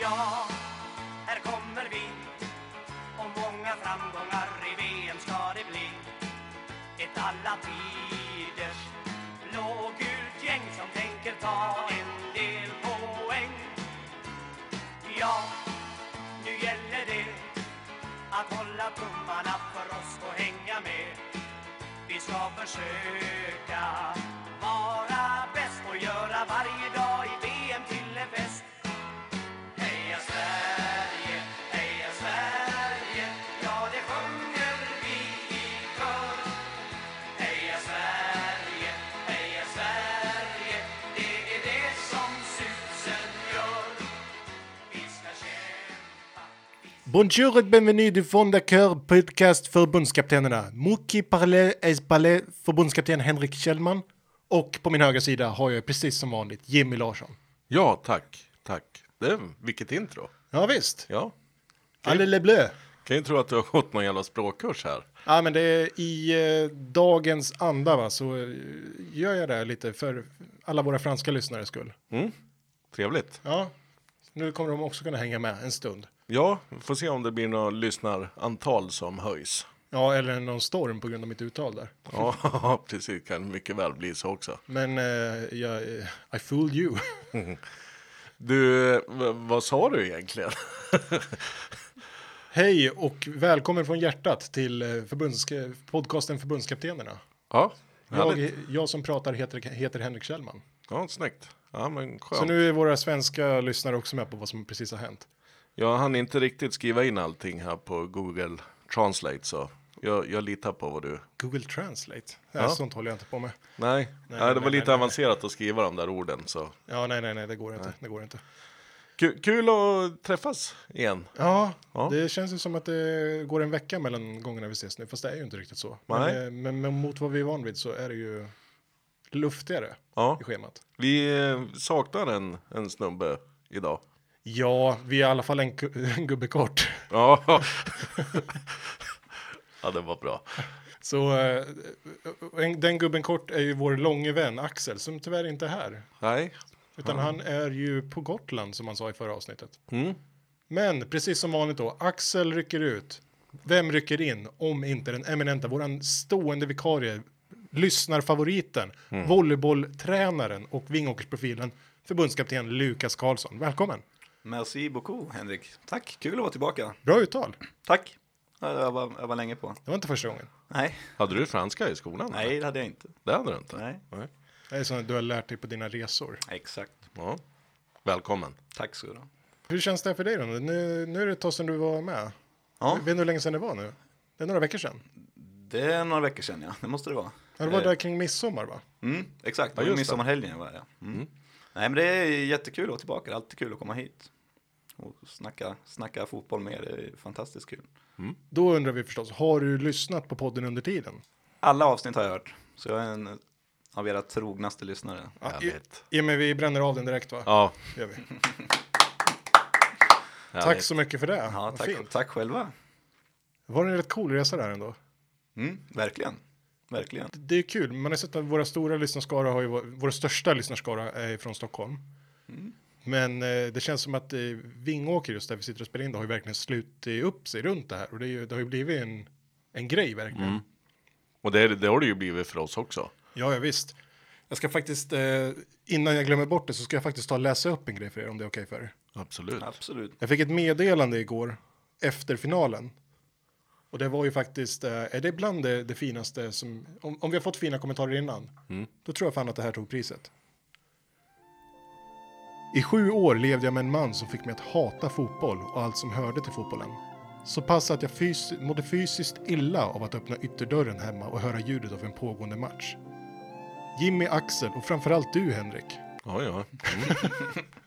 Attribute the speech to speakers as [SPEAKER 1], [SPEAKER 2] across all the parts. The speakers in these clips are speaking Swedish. [SPEAKER 1] ja, här kommer vi Och många framgångar i VM ska det bli Ett alla tiders blågult gäng som tänker ta en del poäng Ja, nu gäller det att hålla tummarna för oss och hänga med vi ska försöka vara bäst och göra varje dag i VM till en fest. Heja Sverige, heja Sverige, ja det sjunger vi i kör. Heja Sverige, heja Sverige, det är det som susen gör. Vi ska kämpa, vi
[SPEAKER 2] Bonjour et bienvenue du Fondacœur Podcast Förbundskaptenerna. Muki Parle Espale, förbundskapten Henrik Kjellman. Och på min högra sida har jag precis som vanligt Jimmy Larsson.
[SPEAKER 3] Ja, tack, tack. Det, vilket intro.
[SPEAKER 2] Ja visst.
[SPEAKER 3] Ja,
[SPEAKER 2] Allez les bleus.
[SPEAKER 3] kan ju tro att du har gått någon jävla språkkurs här.
[SPEAKER 2] Ja men det är i eh, dagens anda va, så eh, gör jag det här lite för alla våra franska lyssnares skull.
[SPEAKER 3] Mm. Trevligt.
[SPEAKER 2] Ja, nu kommer de också kunna hänga med en stund.
[SPEAKER 3] Ja, vi får se om det blir något lyssnarantal som höjs.
[SPEAKER 2] Ja, eller någon storm på grund av mitt uttal där.
[SPEAKER 3] Ja, precis. Kan mycket väl bli så också.
[SPEAKER 2] Men eh, jag, eh, I fooled you.
[SPEAKER 3] Du, v- vad sa du egentligen?
[SPEAKER 2] Hej och välkommen från hjärtat till eh, förbunds podcasten Förbundskaptenerna.
[SPEAKER 3] Ja, härligt.
[SPEAKER 2] Jag, jag som pratar heter, heter Henrik Kjellman.
[SPEAKER 3] Ja, snyggt. Ja, men
[SPEAKER 2] Så
[SPEAKER 3] skönt.
[SPEAKER 2] nu är våra svenska lyssnare också med på vad som precis har hänt.
[SPEAKER 3] Jag hann inte riktigt skriva in allting här på Google Translate, så jag, jag litar på vad du...
[SPEAKER 2] Google Translate. Nej,
[SPEAKER 3] Ja.
[SPEAKER 2] Sånt håller jag inte på med.
[SPEAKER 3] Nej, nej,
[SPEAKER 2] nej,
[SPEAKER 3] det var
[SPEAKER 2] nej,
[SPEAKER 3] lite
[SPEAKER 2] nej.
[SPEAKER 3] avancerat att skriva de där orden, så...
[SPEAKER 2] Ja, nej, nej, nej, det går inte. Det går inte.
[SPEAKER 3] Ku- Kul att träffas igen.
[SPEAKER 2] Ja,
[SPEAKER 3] Ja.
[SPEAKER 2] det känns ju som att det går en vecka mellan gångerna vi ses nu, fast det är ju inte riktigt så. Men,
[SPEAKER 3] Nej.
[SPEAKER 2] eh, men, men mot vad vi är van vid så är det ju luftigare
[SPEAKER 3] Ja.
[SPEAKER 2] i schemat.
[SPEAKER 3] Vi eh, saknar en, en snubbe idag.
[SPEAKER 2] Ja, vi är i alla fall en, ku- en gubbe kort.
[SPEAKER 3] Ja. ja, det var bra.
[SPEAKER 2] Så eh, en- den gubben kort är ju vår långe vän Axel som tyvärr inte är här.
[SPEAKER 3] Nej.
[SPEAKER 2] Utan han är ju på Gotland som han sa i förra avsnittet.
[SPEAKER 3] Mm.
[SPEAKER 2] Men precis som vanligt då, Axel rycker ut. Vem rycker in om inte den eminenta, våran stående vikarie, lyssnarfavoriten, volleybolltränaren och Vingåkersprofilen, förbundskapten Lukas Karlsson. Välkommen!
[SPEAKER 4] Merci beaucoup Henrik. Tack, kul att vara tillbaka.
[SPEAKER 2] Bra uttal!
[SPEAKER 4] Tack. Ja, Jag var, jag var länge på.
[SPEAKER 2] Det var inte första gången.
[SPEAKER 4] Nej,
[SPEAKER 3] Hade du franska i skolan?
[SPEAKER 4] nej det hade jag inte.
[SPEAKER 3] Det hade du inte?
[SPEAKER 4] Nej.
[SPEAKER 2] Det är sånt du har lärt dig på dina resor.
[SPEAKER 4] Exakt.
[SPEAKER 3] Ja. Välkommen.
[SPEAKER 4] Tack så du ha.
[SPEAKER 2] Hur känns det för dig då? Nu, nu är det ett tag sedan du var med.
[SPEAKER 4] Ja.
[SPEAKER 2] Vet du hur länge sedan det var nu? Det är några veckor sedan.
[SPEAKER 4] Det är några veckor sedan ja, det måste det vara.
[SPEAKER 2] Ja, det var där kring midsommar va?
[SPEAKER 4] Mm, exakt, det
[SPEAKER 3] Ja,
[SPEAKER 4] var
[SPEAKER 3] just det.
[SPEAKER 4] midsommarhelgen var det. Mm. Nej men det är jättekul att vara tillbaka, det är alltid kul att komma hit. Och snacka, snacka fotboll med er, det är fantastiskt kul.
[SPEAKER 2] Då undrar vi förstås, har du lyssnat på podden under tiden?
[SPEAKER 4] Alla avsnitt har jag hört, så jag är en av era trognaste lyssnare.
[SPEAKER 3] Härligt.
[SPEAKER 2] Ja, men vi bränner av den direkt va?
[SPEAKER 3] Ja.
[SPEAKER 2] Gör vi. Tack
[SPEAKER 3] härligt.
[SPEAKER 2] så mycket för det.
[SPEAKER 4] Ja,
[SPEAKER 2] Vad
[SPEAKER 4] tack,
[SPEAKER 2] fint.
[SPEAKER 4] tack själva.
[SPEAKER 2] Var det en rätt cool resa där ändå?
[SPEAKER 4] Mm, verkligen, verkligen.
[SPEAKER 2] Det är kul, man har sett att våra stora lyssnarskara har ju, varit- vår största lyssnarskara är från Stockholm.
[SPEAKER 4] Mm.
[SPEAKER 2] Men eh, det känns som att eh, Vingåker, just där vi sitter och spelar in, det har ju verkligen slutit upp sig runt det här. Och det, är ju, det har ju blivit en, en grej verkligen.
[SPEAKER 3] Och det, det har det ju blivit för oss också.
[SPEAKER 2] Ja, ja visst. Jag ska faktiskt, eh, innan jag glömmer bort det så ska jag faktiskt ta och läsa upp en grej för er om det är okej för er.
[SPEAKER 3] Absolut.
[SPEAKER 4] Absolut.
[SPEAKER 2] Jag fick ett meddelande igår efter finalen. Och det var ju faktiskt, eh, är det bland det, det finaste som, om, om vi har fått fina kommentarer innan, då tror jag fan att det här tog priset. I sju år levde jag med en man som fick mig att hata fotboll och allt som hörde till fotbollen. Så pass att jag fys- mådde fysiskt illa av att öppna ytterdörren hemma och höra ljudet av en pågående match. Jimmy, Axel och framförallt du Henrik.
[SPEAKER 3] Ja, ja.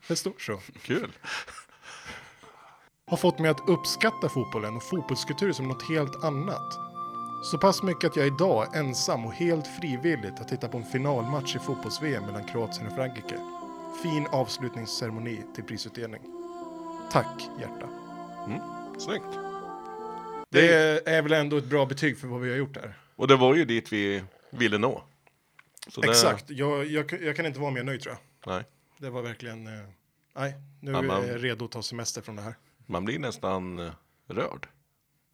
[SPEAKER 2] Det står så.
[SPEAKER 3] Kul.
[SPEAKER 2] har fått mig att uppskatta fotbollen och fotbollskultur som något helt annat. Så pass mycket att jag idag är ensam och helt frivilligt att titta på en finalmatch i fotbolls-VM mellan Kroatien och Frankrike. Fin avslutningsceremoni till prisutdelning. Tack, hjärta.
[SPEAKER 3] Snyggt.
[SPEAKER 2] Det är väl ändå ett bra betyg för vad vi har gjort här.
[SPEAKER 3] Och det var ju dit vi ville nå. Så det-
[SPEAKER 2] Exakt, jag, jag, jag kan inte vara mer nöjd tror jag.
[SPEAKER 3] Nej.
[SPEAKER 2] Det var verkligen... eh, Nej, nu
[SPEAKER 3] Ja, man-
[SPEAKER 2] är jag redo att ta semester från det här.
[SPEAKER 3] Man blir nästan eh, rörd.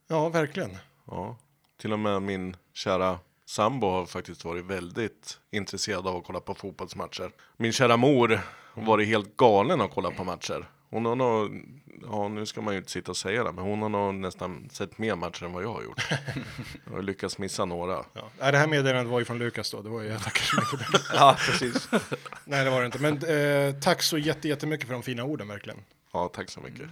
[SPEAKER 2] Ja, verkligen.
[SPEAKER 3] Ja. Till och med min kära sambo har faktiskt varit väldigt intresserad av att kolla på fotbollsmatcher. Min kära mor har varit helt galen att kolla på matcher. Hon har nog, ja nu ska man ju inte sitta och säga det, men hon har nog nästan sett mer matcher än vad jag har gjort. Jag har lyckats missa några.
[SPEAKER 2] Ja. Nej, det här meddelandet var ju från Lukas då, det var ju jag tackar så mycket. för det.
[SPEAKER 4] Ja, precis.
[SPEAKER 2] Nej, det var det inte. Men eh, tack så jätte- jättemycket för de fina orden verkligen.
[SPEAKER 3] Ja, tack så mycket.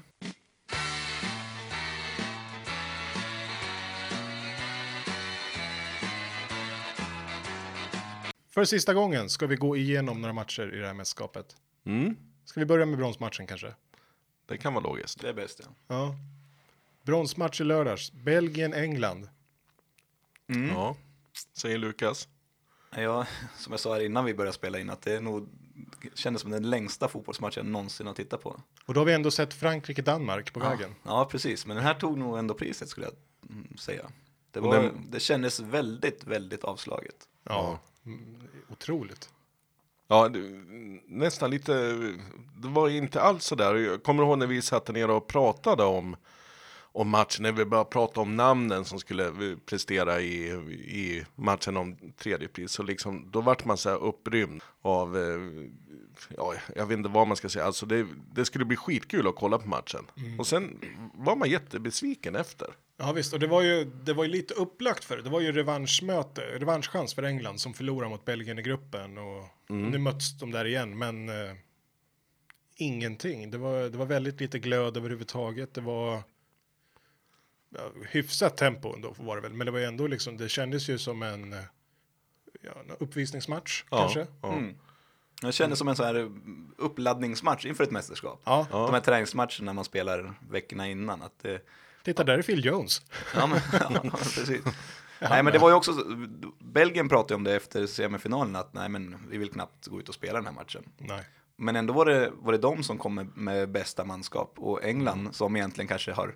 [SPEAKER 2] För sista gången ska vi gå igenom några matcher i det här mästerskapet.
[SPEAKER 3] Mm,
[SPEAKER 2] Ska vi börja med bronsmatchen kanske?
[SPEAKER 3] det kan vara logiskt.
[SPEAKER 4] Det är bäst, ja.
[SPEAKER 2] Ja. Bronsmatch i lördags, Belgien-England.
[SPEAKER 3] Ja, säger Lukas.
[SPEAKER 4] Ja, som jag sa här innan vi började spela in, att det är nog kändes som den längsta fotbollsmatchen jag någonsin har tittat på.
[SPEAKER 2] Och då har vi ändå sett Frankrike-Danmark på vägen.
[SPEAKER 4] Ja, precis. Men den här tog nog ändå priset skulle jag mm, säga. Det,
[SPEAKER 3] Och
[SPEAKER 4] var,
[SPEAKER 3] den-
[SPEAKER 4] det kändes väldigt, väldigt avslaget.
[SPEAKER 2] Ja. Mm, Otroligt.
[SPEAKER 3] Ja, det- nästan lite, det var inte alls sådär. Jag kommer ihåg när vi satt ner och pratade om, om matchen, när vi började prata om namnen som skulle eh, prestera i, i matchen om tredje pris. Så liksom, då vart man så här upprymd av, eh, ja, jag vet inte vad man ska säga, alltså det, det skulle bli skitkul att kolla på matchen. Och sen var man jättebesviken efter.
[SPEAKER 2] Ja visst, och det var ju, det var ju lite upplagt för det. Det var ju revanschmöte, revanschchans för England som förlorade mot Belgien i gruppen och
[SPEAKER 3] Mm.
[SPEAKER 2] nu möts de där igen, men eh, ingenting. Det var, det var väldigt lite glöd överhuvudtaget. Det var ja, hyfsat tempo ändå var det väl, men det var ju ändå liksom, det kändes ju som en, eh, ja, en uppvisningsmatch kanske.
[SPEAKER 3] Ja.
[SPEAKER 4] Det kändes som en sån här uppladdningsmatch inför ett mästerskap.
[SPEAKER 2] Ja,
[SPEAKER 4] De här träningsmatcherna man spelar veckorna innan. Att det,
[SPEAKER 2] titta där är Phil Jones.
[SPEAKER 4] ja, men, ja, precis. Nej, men det var ju också, Belgien pratade ju om det efter semifinalen, att nej, men vi vill knappt gå ut och spela den här matchen.
[SPEAKER 2] Nej.
[SPEAKER 4] Men ändå var det, var det de som kom med, med bästa manskap och England som egentligen kanske har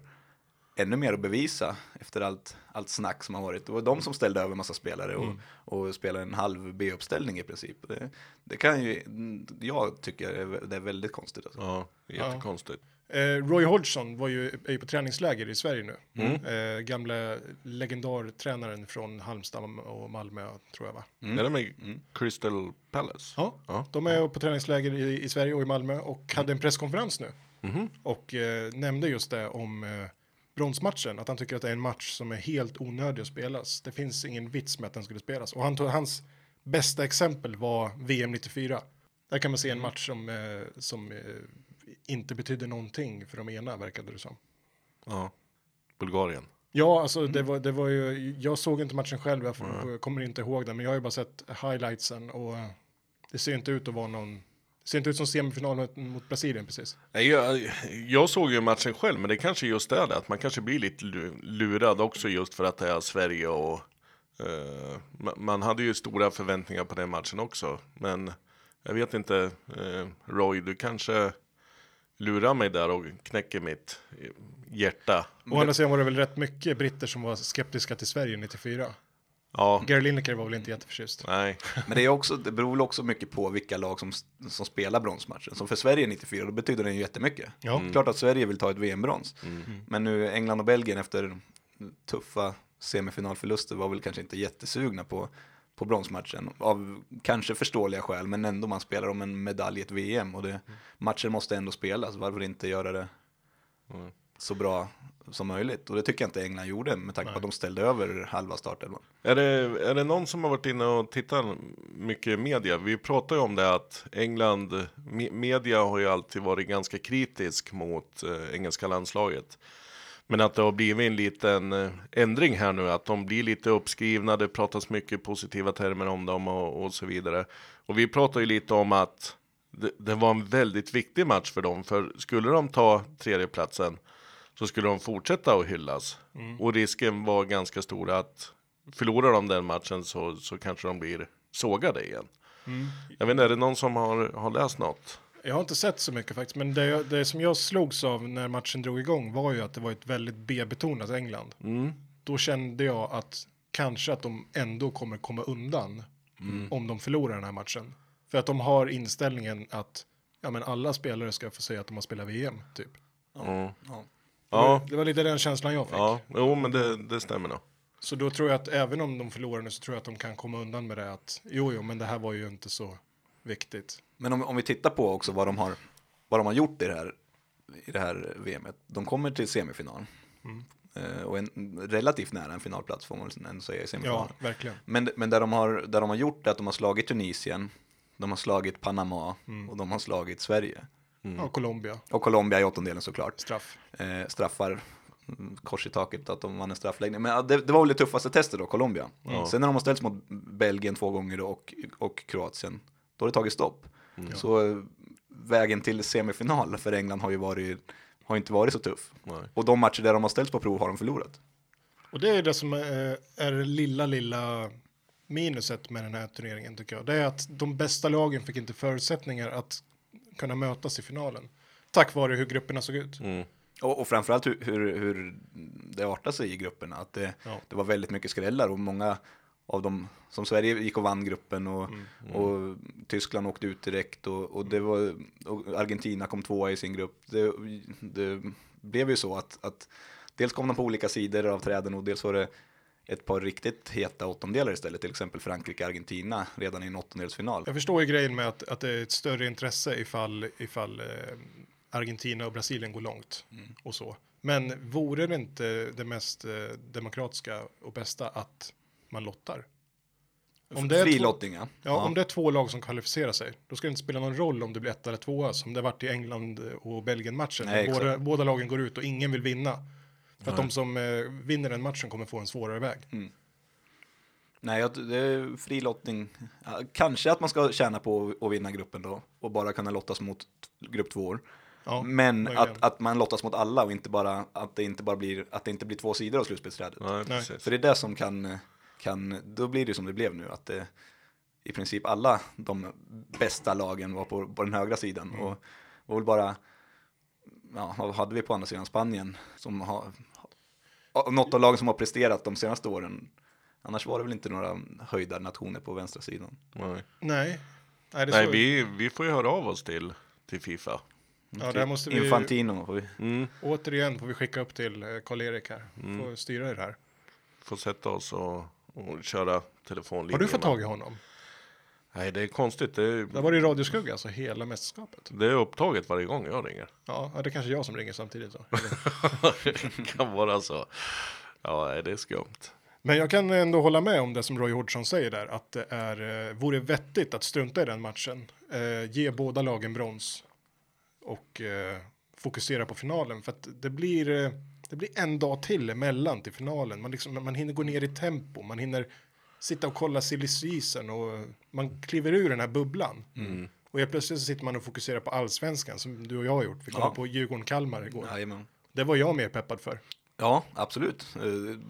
[SPEAKER 4] ännu mer att bevisa efter allt, allt snack som har varit. Det var de som ställde över massa spelare och, och spelade en halv B-uppställning i princip. Det, det kan ju, jag tycker är vä- det är väldigt konstigt. Alltså.
[SPEAKER 3] Ja, jättekonstigt.
[SPEAKER 2] Eh, Roy Hodgson var ju, är ju på träningsläger i Sverige nu. Eh, gamla legendartränaren från Halmstad och Malmö, tror jag va?
[SPEAKER 3] Är det med Crystal Palace?
[SPEAKER 2] Ja,
[SPEAKER 3] Ja.
[SPEAKER 2] de är på träningsläger i, i Sverige och i Malmö och hade en presskonferens nu. Och eh, nämnde just det om eh, bronsmatchen, att han tycker att det är en match som är helt onödig att spelas. Det finns ingen vits med att den skulle spelas. Och han tog, hans bästa exempel var VM 94. Där kan man se en match som, eh, som eh, inte betyder någonting för de ena, verkade det som.
[SPEAKER 3] ja. Bulgarien.
[SPEAKER 2] Ja, alltså det, var, det var ju, jag såg inte matchen själv, jag får- kommer inte ihåg den, men jag har ju bara sett highlightsen och eh, det ser inte ut att vara någon, det ser inte ut som semifinalen mot- mot Brasilien precis.
[SPEAKER 3] Nej, Jag, jag såg ju matchen själv, men det kanske just är det att man kanske blir lite lu- lurad också just för att det är Sverige och eh, ma- man hade ju stora förväntningar på den matchen också. Men jag vet inte, eh, Roy, du kanske lurar mig där och knäcker mitt eh, hjärta.
[SPEAKER 2] Å andra sidan var det väl rätt mycket britter som var skeptiska till Sverige 94.
[SPEAKER 3] Ja,
[SPEAKER 2] Gary Lineker var väl inte jätteförtjust.
[SPEAKER 3] nej,
[SPEAKER 4] Men det, är också, det beror väl också mycket på vilka lag som, som spelar bronsmatchen. Som för Sverige 94, då betyder den ju jättemycket. Mm.
[SPEAKER 2] Ja.
[SPEAKER 4] Klart att Sverige vill ta ett VM-brons. Men nu England och Belgien efter tuffa semifinalförluster var väl kanske inte jättesugna på, på bronsmatchen. Av kanske förståeliga skäl, men ändå man spelar om en medalj i ett VM. Och det, matchen måste ändå spelas, varför inte göra det så bra som möjligt? Och det tycker jag inte England gjorde med tanke på att de ställde över halva startelvan.
[SPEAKER 3] Är det, är det någon som har varit inne och tittat mycket i media? Vi pratar ju om det att England, me- media har ju alltid varit ganska kritisk mot eh, engelska landslaget. Men att det har blivit en liten eh, ändring här nu, att de blir lite uppskrivna, det pratas mycket positiva termer om dem och, och så vidare. Och vi pratar ju lite om att det, det var en väldigt viktig match för dem, för skulle de ta tredjeplatsen så skulle de fortsätta att hyllas. Och risken var ganska stor att förlorar de den matchen så, så kanske de blir sågade igen. Jag vet inte, är det någon som har, har läst något?
[SPEAKER 2] Jag har inte sett så mycket faktiskt, men det, jag- det som jag slogs av när matchen drog igång var ju att det var ett väldigt B-betonat England.
[SPEAKER 3] Mm.
[SPEAKER 2] Då kände jag att kanske att de ändå kommer
[SPEAKER 3] Mm.
[SPEAKER 2] komma undan om de förlorar den här matchen. För att de har inställningen att ja men alla spelare ska få säga att de har spelat VM, typ.
[SPEAKER 3] Mm.
[SPEAKER 4] Ja.
[SPEAKER 3] Ja,
[SPEAKER 2] Det var lite den känslan jag fick.
[SPEAKER 3] ja, jo men det, det stämmer nog.
[SPEAKER 2] Så då tror jag att även om de förlorar nu så tror jag att de kan komma undan med det att jo, jo, men det här var ju inte så viktigt.
[SPEAKER 4] Men om, om vi tittar på också vad de har, vad de har gjort i det här, i det här VMet. De kommer till semifinal. Eh, och en, relativt nära en finalplats får man väl ändå säga i
[SPEAKER 2] Ja,
[SPEAKER 4] semifinalen.
[SPEAKER 2] verkligen.
[SPEAKER 4] Men, men där, de har, där de har gjort är att de har slagit Tunisien, de har slagit Panama och de har slagit Sverige.
[SPEAKER 3] Mm.
[SPEAKER 2] Ja, Colombia,
[SPEAKER 4] Och Colombia i åttondelen såklart.
[SPEAKER 2] straff.
[SPEAKER 4] Eh, straffar mm, kors i taket att de vann en straffläggning. Men ja, det, det var väl det tuffaste testet då, Colombia. Mm. Sen när de har ställts mot Belgien två gånger då och, och Kroatien, då har det tagit stopp. Så eh, vägen till semifinal för England har ju varit, har inte varit så tuff.
[SPEAKER 3] Nej.
[SPEAKER 4] Och de matcher där de har ställts på prov har de förlorat.
[SPEAKER 2] Och det är det som är, är det lilla, lilla minuset med den här turneringen tycker jag. Det är att de bästa lagen fick inte förutsättningar att kunna mötas i finalen. Tack vare hur grupperna såg ut.
[SPEAKER 3] Mm.
[SPEAKER 4] Och, och framförallt hur, hur, hur det artade sig i grupperna. Att det,
[SPEAKER 2] Ja.
[SPEAKER 4] det var väldigt mycket skrällar och många av dem som Sverige gick och vann gruppen och,
[SPEAKER 2] Mm,
[SPEAKER 4] och Tyskland åkte ut direkt och, och, det var, och Argentina kom tvåa i sin grupp. Det, det blev ju så att, att dels kom de på olika sidor av träden och dels var det ett par riktigt heta åttondelar istället, till exempel Frankrike-Argentina redan i en åttondelsfinal.
[SPEAKER 2] Jag förstår ju grejen med att, att det är ett större intresse ifall, ifall eh, Argentina och Brasilien går långt och så. Men vore det inte det mest eh, demokratiska och bästa att man lottar? Om det, är
[SPEAKER 4] Fri
[SPEAKER 2] två, ja,
[SPEAKER 4] lottning, ja.
[SPEAKER 2] om det är två lag som kvalificerar sig, då ska det inte spela någon roll om det blir ett eller tvåa som det varit i England och
[SPEAKER 4] Nej,
[SPEAKER 2] Belgien-matchen.
[SPEAKER 4] exakt.
[SPEAKER 2] Båda, båda lagen går ut och ingen vill vinna. För att de som eh, vinner den matchen kommer få en svårare väg.
[SPEAKER 4] Mm. Nej, jag- det är fri lottning. Ja, Kanske att man ska tjäna på att vinna gruppen då och bara kunna lottas mot t- grupp två.
[SPEAKER 2] Ja,
[SPEAKER 4] Men
[SPEAKER 2] möjligen.
[SPEAKER 4] att, att man lottas mot alla och inte bara att det inte bara blir att det inte blir två sidor av slutspelsträdet.
[SPEAKER 3] Nej, precis.
[SPEAKER 4] För det är det som kan, kan, då blir det som det blev nu, att det, i princip alla de bästa lagen var på, på den högra sidan.
[SPEAKER 2] Mm.
[SPEAKER 4] Och var väl bara, ja, vad hade vi på andra sidan Spanien? Som har, ha- något av lagen som har presterat de senaste åren. Annars var det väl inte några höjda nationer på vänstra sidan.
[SPEAKER 3] Nej,
[SPEAKER 2] Nej, Nej, det är
[SPEAKER 3] Nej
[SPEAKER 2] så.
[SPEAKER 3] vi, vi får ju höra av oss till, till Fifa.
[SPEAKER 2] ja, där måste vi...
[SPEAKER 4] Typ Infantino, får vi,
[SPEAKER 2] Återigen får vi skicka upp till eh, Karl-Erik här.
[SPEAKER 4] Mm.
[SPEAKER 2] Får styra er här.
[SPEAKER 3] Får sätta oss och, och köra telefonlinjen.
[SPEAKER 2] Har du fått tag i honom?
[SPEAKER 3] Nej, det är konstigt. Det är,
[SPEAKER 2] Det var det i radioskugga, alltså hela mästerskapet.
[SPEAKER 3] det är upptaget varje gång jag ringer.
[SPEAKER 2] Ja, ja, det är kanske är jag som ringer samtidigt då.
[SPEAKER 3] det kan vara så. Ja, nej, det är skumt.
[SPEAKER 2] Men jag kan ändå hålla med om det som Roy Hodgson säger där, att det är, eh, vore vettigt att strunta i den matchen. Eh, ge båda lagen brons och eh, fokusera på finalen. För att det blir, eh, det blir en dag till emellan till finalen. Man, liksom, man hinner gå ner i tempo, man hinner sitta och kolla silly season och man kliver ur den här bubblan. Och helt plötsligt så sitter man och fokuserar på allsvenskan som du och jag har gjort. Vi kollade
[SPEAKER 4] Ja.
[SPEAKER 2] på Djurgården-Kalmar igår.
[SPEAKER 4] Jajamän.
[SPEAKER 2] Det var jag mer peppad för.
[SPEAKER 4] Ja, absolut. Eh,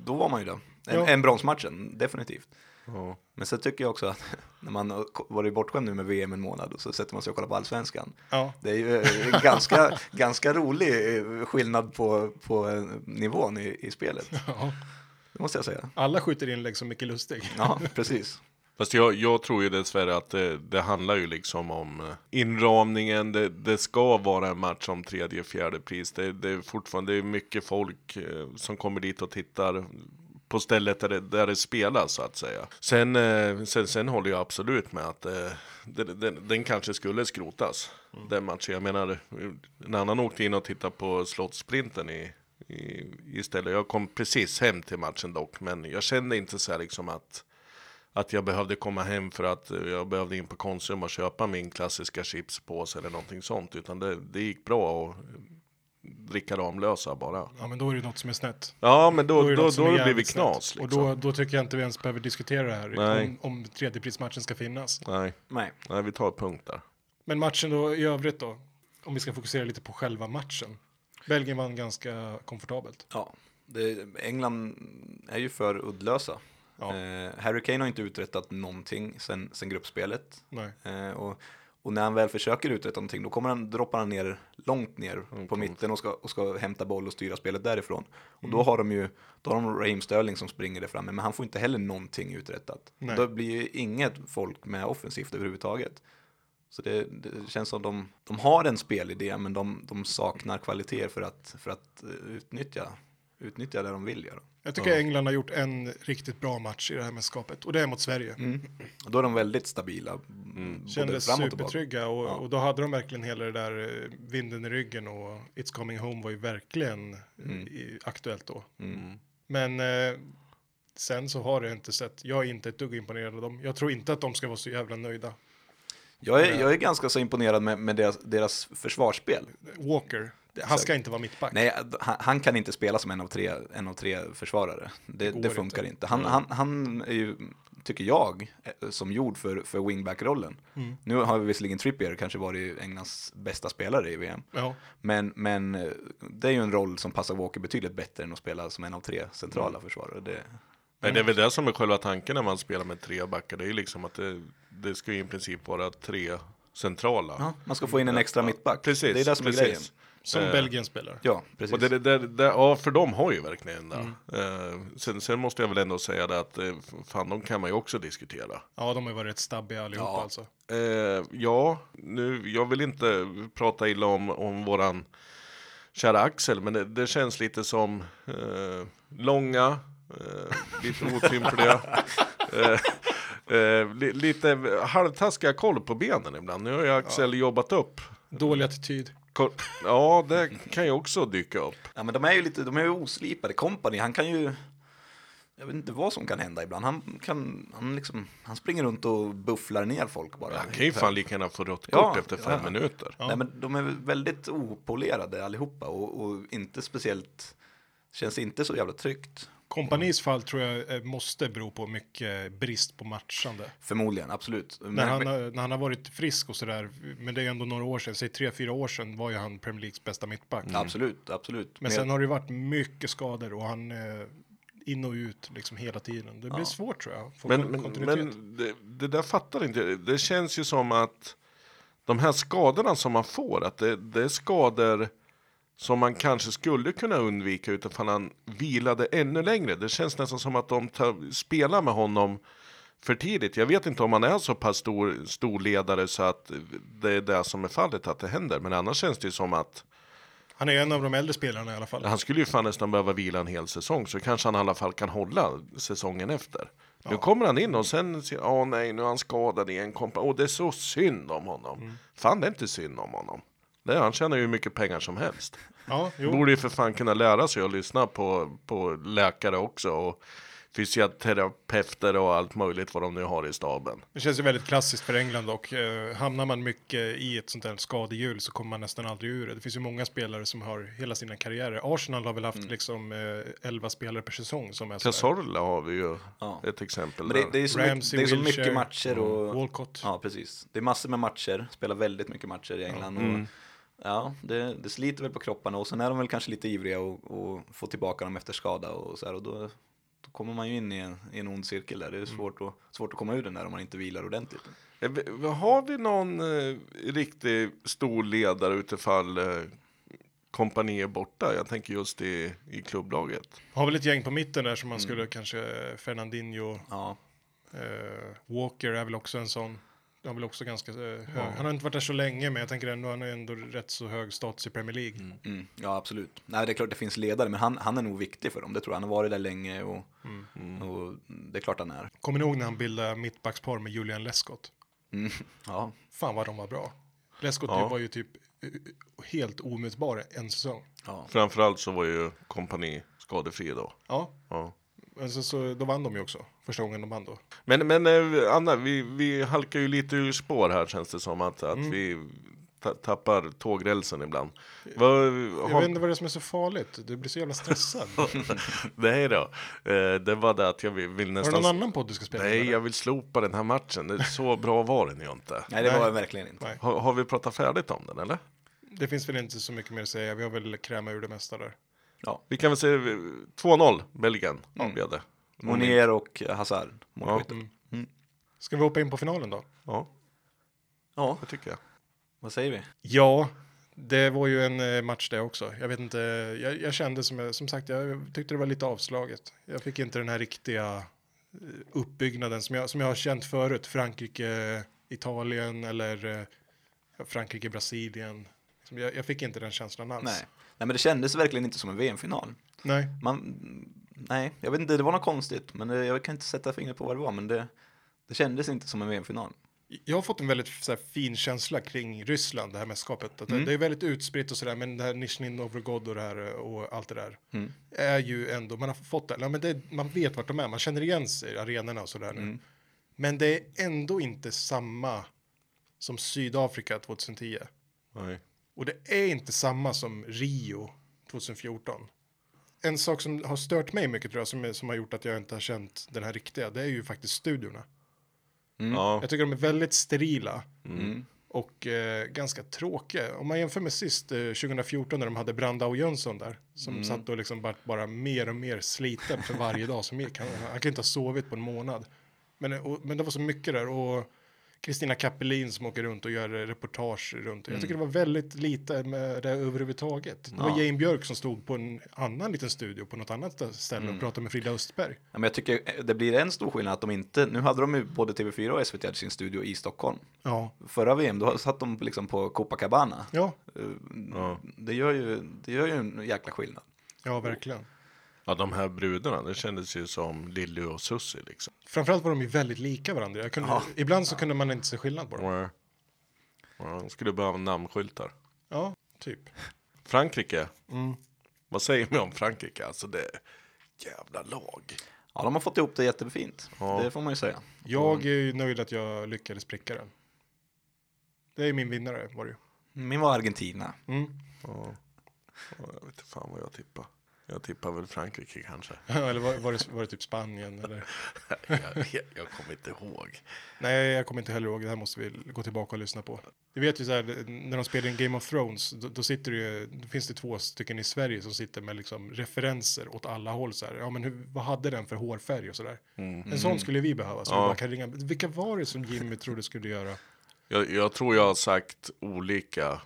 [SPEAKER 4] Då var man ju det. En,
[SPEAKER 2] Ja.
[SPEAKER 4] en bronsmatchen, definitivt.
[SPEAKER 3] Ja.
[SPEAKER 4] Men sen tycker jag också att när man har varit bortskämd nu med VM en månad och så sätter man sig och kollar på allsvenskan.
[SPEAKER 2] Ja.
[SPEAKER 4] Det är ju eh, en ganska, ganska rolig eh, skillnad på, på eh, nivån i, i spelet.
[SPEAKER 2] Ja.
[SPEAKER 4] Det måste jag säga.
[SPEAKER 2] Alla skjuter inlägg som mycket Lustig.
[SPEAKER 4] Ja, precis.
[SPEAKER 3] Fast jag, jag tror ju dessvärre att det, det handlar ju liksom om eh, inramningen. Det, det ska vara en match om tredje, fjärde pris. Det, det är fortfarande det är mycket folk eh, som kommer dit och tittar på stället där det, där det spelas så att säga. Sen, eh, sen, sen håller jag absolut med att eh, den, den, den kanske skulle skrotas. Den matchen. Jag menar, en annan åkte in och tittade på Slottssprinten i i- istället. Jag kom precis hem till matchen dock, men jag kände inte så här liksom att att jag behövde komma hem för att eh, jag behövde in på Konsum och köpa min klassiska chipspåse eller någonting sånt. Utan det, det gick bra att dricka Ramlösa bara.
[SPEAKER 2] Ja, men då är det något som är snett.
[SPEAKER 3] Ja, men då,
[SPEAKER 2] är
[SPEAKER 3] då,
[SPEAKER 2] något
[SPEAKER 3] då,
[SPEAKER 2] som är
[SPEAKER 3] blir vi
[SPEAKER 2] jävligt snett.
[SPEAKER 3] knas liksom.
[SPEAKER 2] Och då, då tycker jag inte vi ens behöver diskutera det här.
[SPEAKER 3] Nej.
[SPEAKER 2] Om, om tredjeprismatchen ska finnas.
[SPEAKER 3] nej,
[SPEAKER 4] Nej.
[SPEAKER 3] nej, vi tar punkt där.
[SPEAKER 2] Men matchen då i övrigt då? Om vi ska fokusera lite på själva matchen. Belgien vann ganska komfortabelt.
[SPEAKER 4] Ja, det, England är ju för uddlösa.
[SPEAKER 2] Ja.
[SPEAKER 4] Eh, Harry Kane har inte uträttat någonting sen, sen gruppspelet.
[SPEAKER 2] Nej.
[SPEAKER 4] Eh, och, och när han väl försöker uträtta någonting då kommer han, droppar han ner långt ner
[SPEAKER 2] Mm,
[SPEAKER 4] på mitten och ska, och ska hämta boll och styra spelet därifrån. Och
[SPEAKER 2] Mm.
[SPEAKER 4] då har de ju då har de Raheem Sterling som springer där framme men han får inte heller någonting uträttat.
[SPEAKER 2] Nej.
[SPEAKER 4] Då blir ju inget folk med offensivt överhuvudtaget. Så det, det känns som de, de har en spelidé men de, de saknar kvaliteter för att, för att eh, utnyttja, utnyttja det de vill göra.
[SPEAKER 2] Jag tycker England har gjort en riktigt bra match i det här mästerskapet och det är mot Sverige.
[SPEAKER 4] Och då är de väldigt stabila. både
[SPEAKER 2] Mm. Kändes
[SPEAKER 4] fram och tillbaka.
[SPEAKER 2] supertrygga och, och då hade de verkligen hela det där eh, vinden i ryggen och It's coming home var ju verkligen eh,
[SPEAKER 4] Mm.
[SPEAKER 2] i, aktuellt då. Men eh, sen så har det inte sett, jag är inte ett dugg imponerad av dem. Jag tror inte att de ska vara så jävla nöjda.
[SPEAKER 4] Jag är, jag är ganska så imponerad med, med deras, deras försvarsspel.
[SPEAKER 2] Walker, han
[SPEAKER 4] Exakt.
[SPEAKER 2] ska inte vara mittback.
[SPEAKER 4] Nej, han, han kan inte spela som en av tre, en av tre försvarare. Det, det,
[SPEAKER 2] går
[SPEAKER 4] funkar inte. Han, han, han är ju, tycker jag, eh, som gjord för, för wingback-rollen. Nu har vi visserligen Trippier kanske varit Englands bästa spelare i VM.
[SPEAKER 2] Ja.
[SPEAKER 4] Men, men eh, det är ju en roll som passar Walker betydligt bättre än att spela som en av tre centrala försvarare. Det,
[SPEAKER 3] Nej, det är väl det som är själva tanken när man spelar med tre backar. Det är ju liksom att det, det ska ju i princip vara tre centrala.
[SPEAKER 4] ja, man ska få in en extra mittback.
[SPEAKER 3] Precis,
[SPEAKER 4] det är det som
[SPEAKER 3] precis.
[SPEAKER 4] är grejen.
[SPEAKER 2] Som Belgien spelar.
[SPEAKER 4] Ja, precis.
[SPEAKER 3] Och det, det, det, det, ja, för de har ju verkligen det. Eh, sen, sen måste jag väl ändå säga det att eh, fan, de kan man ju också diskutera.
[SPEAKER 2] Ja, de har ju varit rätt stabbiga allihopa
[SPEAKER 4] Ja.
[SPEAKER 2] alltså.
[SPEAKER 3] Eh, ja, nu, jag vill inte prata illa om, om våran kära Axel, men det, det känns lite som eh, långa, eh, lite otympliga, eh, eh, li, lite halvtaskiga koll på benen ibland. Nu har ju Axel jobbat upp.
[SPEAKER 2] Dålig attityd.
[SPEAKER 3] Ko- Ja, det kan ju också dyka upp.
[SPEAKER 4] Ja, men de är ju lite, de är ju oslipade. Company, han kan ju... Jag vet inte vad som kan hända ibland. Han kan, han liksom, han springer runt och bufflar ner folk bara.
[SPEAKER 3] Han kan ju fan lika gärna få rött kort
[SPEAKER 4] Ja,
[SPEAKER 3] efter fem
[SPEAKER 4] ja.
[SPEAKER 3] minuter.
[SPEAKER 4] Nej, men de är väldigt opolerade allihopa och, och inte speciellt, känns inte så jävla tryggt.
[SPEAKER 2] Kompanis fall tror jag eh, måste bero på mycket brist på matchande.
[SPEAKER 4] Förmodligen, absolut.
[SPEAKER 2] När
[SPEAKER 4] Men,
[SPEAKER 2] han, har- när han har varit frisk och sådär, men det är ändå några år sedan, säg tre, fyra år sedan var ju han Premier Leagues bästa mittback.
[SPEAKER 3] Mm.
[SPEAKER 4] Absolut, absolut.
[SPEAKER 2] Men sen har det ju varit mycket skador och han eh, in och ut liksom hela tiden. Det blir svårt tror jag. Få
[SPEAKER 3] Men,
[SPEAKER 2] kon-
[SPEAKER 3] men,
[SPEAKER 2] kontinuitet.
[SPEAKER 3] men det, det där fattar inte jag. Det känns ju som att de här skadorna som man får, att det, det är skador som man kanske skulle kunna undvika utifrån han vilade ännu längre. Det känns nästan som att de tar, spelar med honom för tidigt. Jag vet inte om han är så pass stor, stor ledare så att det är det som är fallet att det händer. Men annars känns det ju som att
[SPEAKER 2] Han är en av de äldre spelarna i alla fall.
[SPEAKER 3] han skulle ju fan nästan behöva vila en hel säsong så kanske han i alla fall kan hålla säsongen efter. Nu kommer han in och sen ser ja nej nu är han skadad igen, kompa. och det är så synd om honom. Fan det är inte synd om honom. Det är, han tjänar ju hur mycket pengar som helst.
[SPEAKER 2] Ja, jo.
[SPEAKER 3] Borde ju för fan kunna lära sig att lyssna på, på läkare också och fysioterapeuter och allt möjligt vad de nu har i staben.
[SPEAKER 2] Det känns ju väldigt klassiskt för England och eh, hamnar man mycket i ett sånt där skadehjul så kommer man nästan aldrig ur det. Det finns ju många spelare som har hela sina karriärer. Arsenal har väl haft
[SPEAKER 3] Mm.
[SPEAKER 2] liksom eh, 11 spelare per säsong som är sådär.
[SPEAKER 3] Cazorla har vi ju
[SPEAKER 4] Ja.
[SPEAKER 3] ett exempel.
[SPEAKER 4] Men det,
[SPEAKER 3] där.
[SPEAKER 4] det är så,
[SPEAKER 2] Ramsey,
[SPEAKER 4] mycket, det är så
[SPEAKER 2] Wilshere,
[SPEAKER 4] mycket matcher och...
[SPEAKER 2] Walcott.
[SPEAKER 4] Ja, precis. Det är massor med matcher, spelar väldigt mycket matcher i England. Och, ja, det, det sliter väl på kropparna och sen är de väl kanske lite ivriga och, och få tillbaka dem efter skada och så här. Och då, då kommer man ju in i en, i en ond cirkel där. Det är svårt, att, svårt att komma ur den där om man inte vilar ordentligt.
[SPEAKER 3] Eh, vi- Har vi någon eh, riktig stor ledare utifall eh, kompani är borta? Jag tänker just i, i klubblaget.
[SPEAKER 2] Har väl ett gäng på mitten där
[SPEAKER 3] Mm.
[SPEAKER 2] som man skulle kanske eh, Fernandinho,
[SPEAKER 4] Ja,
[SPEAKER 2] eh, Walker är väl också en sån. Han, väl också ganska, eh, hög. han har inte varit där så länge, men jag tänker ändå han är ändå rätt så hög status i Premier League.
[SPEAKER 4] mm, ja absolut. Nej, det är klart det finns ledare, men han, han är nog viktig för dem. Det tror jag. Han har varit där länge och, och det är klart han är.
[SPEAKER 2] Kommer ni ihåg när han bildade mittbackspar med Julian Lescott?
[SPEAKER 4] Mm, ja,
[SPEAKER 2] Fan vad de var bra. Lescott
[SPEAKER 3] Ja.
[SPEAKER 2] var ju typ eh, helt omutbar en säsong.
[SPEAKER 4] ja.
[SPEAKER 3] Framförallt så var ju kompani skadefri då.
[SPEAKER 2] Ja,
[SPEAKER 3] Ja.
[SPEAKER 2] men så, så då vann de ju också. Första gången de vann då.
[SPEAKER 3] Men, men eh, Anna, vi, vi halkar ju lite ur spår här känns det som att,
[SPEAKER 2] Mm.
[SPEAKER 3] att vi ta- tappar tågrälsen ibland. Vad,
[SPEAKER 2] Jag
[SPEAKER 3] har,
[SPEAKER 2] vet inte vad det är som är så farligt. Du blir så jävla stressad. har
[SPEAKER 3] nej då, eh, det var det att jag vill, vill
[SPEAKER 2] du någon
[SPEAKER 3] nästan...
[SPEAKER 2] annan podd du ska spela in,
[SPEAKER 3] Nej,
[SPEAKER 2] eller?
[SPEAKER 3] jag vill slopa den här matchen. Det är så bra var den ju inte.
[SPEAKER 4] Nej, det var
[SPEAKER 2] Nej.
[SPEAKER 4] jag verkligen inte.
[SPEAKER 2] Nej.
[SPEAKER 3] Har, har vi pratat färdigt om den eller?
[SPEAKER 2] Det finns väl inte så mycket mer att säga. Vi har väl krämat ur det mesta där.
[SPEAKER 4] Ja.
[SPEAKER 3] Vi kan väl säga eh, 2-0 Belgien blev det.
[SPEAKER 4] Monier och Hazard,
[SPEAKER 3] Ja,
[SPEAKER 4] målskytten.
[SPEAKER 2] Mm. Ska vi hoppa in på finalen då?
[SPEAKER 3] ja,
[SPEAKER 4] Ja,
[SPEAKER 3] det tycker jag.
[SPEAKER 4] vad säger vi?
[SPEAKER 2] Ja, det var ju en eh, match det också. Jag vet inte, jag, jag kände som, jag- som sagt, jag tyckte det var lite avslaget. Jag fick inte den här riktiga eh, uppbyggnaden som jag, som jag har känt förut. Frankrike Italien eller eh, Frankrike, Brasilien. Liksom, Jag, jag fick inte den känslan alls.
[SPEAKER 4] Nej. nej, men det kändes verkligen inte som en VM-final.
[SPEAKER 2] Nej.
[SPEAKER 4] Man, nej, jag vet inte, det var något konstigt, men det, jag kan inte sätta fingret på vad det var, men det, det kändes inte som en VM-final.
[SPEAKER 2] Jag har fått en väldigt så här, fin känsla kring Ryssland, det här mästerskapet. Att det- Det är väldigt utspritt och sådär, men det här Nizjnij Novgorod och, det här, eh, och allt det där är ju ändå, man har fått det, ja, men det, man vet vart de är, man känner igen sig, arenorna och sådär. nu. Men det är ändå inte samma som Sydafrika 2010.
[SPEAKER 3] Nej.
[SPEAKER 2] Och det är inte samma som Rio 2014. En sak som har stört mig mycket tror jag, som, är, som har gjort att jag inte har känt den här riktiga, det är ju faktiskt studiorna.
[SPEAKER 3] Ja,
[SPEAKER 2] Jag tycker de är väldigt sterila. Och eh, ganska tråkiga. Om man jämför med sist, eh, 2014, när de hade Brandao Jönsson där. Som satt och liksom bara, bara mer och mer sliten för varje dag som gick. Han, han kan inte ha sovit på en månad. Men, eh, och, men det var så mycket där. Och Kristina Kappelin som åker runt och gör eh, reportage runt. Jag tycker det var väldigt lite med det överhuvudtaget. Det var Jane Björk som stod på en annan liten studio på något annat ställe och pratade med Frida Östberg.
[SPEAKER 4] Ja, men jag tycker eh, det blir en stor skillnad att de inte, nu hade de ju både TV4 och SVT hade sin studio i Stockholm.
[SPEAKER 2] Ja,
[SPEAKER 4] Förra VM, då satt de liksom på Copacabana.
[SPEAKER 2] ja,
[SPEAKER 4] Eh,
[SPEAKER 3] ja.
[SPEAKER 4] Det gör, ju, det gör ju en jäkla skillnad.
[SPEAKER 2] ja verkligen.
[SPEAKER 3] ja, de här brudarna, det kändes ju som Lilly och Susie liksom.
[SPEAKER 2] Framförallt var de ju väldigt lika varandra. Jag kunde, Ibland så kunde man inte se skillnad på dem.
[SPEAKER 3] Ja, de skulle behöva namnskyltar.
[SPEAKER 2] Ja, typ.
[SPEAKER 3] Frankrike. Vad säger vi om Frankrike? Alltså det jävla lag.
[SPEAKER 4] Ja, de har fått ihop det jättefint.
[SPEAKER 3] Ja.
[SPEAKER 4] Det får man ju säga.
[SPEAKER 2] Jag är ju nöjd att jag lyckades pricka den. Det är min vinnare var det ju.
[SPEAKER 4] Min var Argentina.
[SPEAKER 2] Mm.
[SPEAKER 3] Ja. Ja, jag vet inte fan vad jag tippar. Jag tippar väl Frankrike kanske.
[SPEAKER 2] eller var, var, det, var det typ Spanien eller?
[SPEAKER 3] jag, vet- jag kommer inte ihåg.
[SPEAKER 2] Nej, jag kommer inte heller ihåg. Det här måste vi gå tillbaka och lyssna på. Du vet ju så här, när de spelar in Game of Thrones, då, då sitter det ju, då finns det två stycken i Sverige som sitter med liksom referenser åt alla håll så här. Ja, men hur, vad hade den för hårfärg och så där? En sån skulle vi behöva. Så vi bara kan ringa. Vilka var det som Jimmy trodde skulle göra?
[SPEAKER 3] Jag, jag tror jag har sagt olika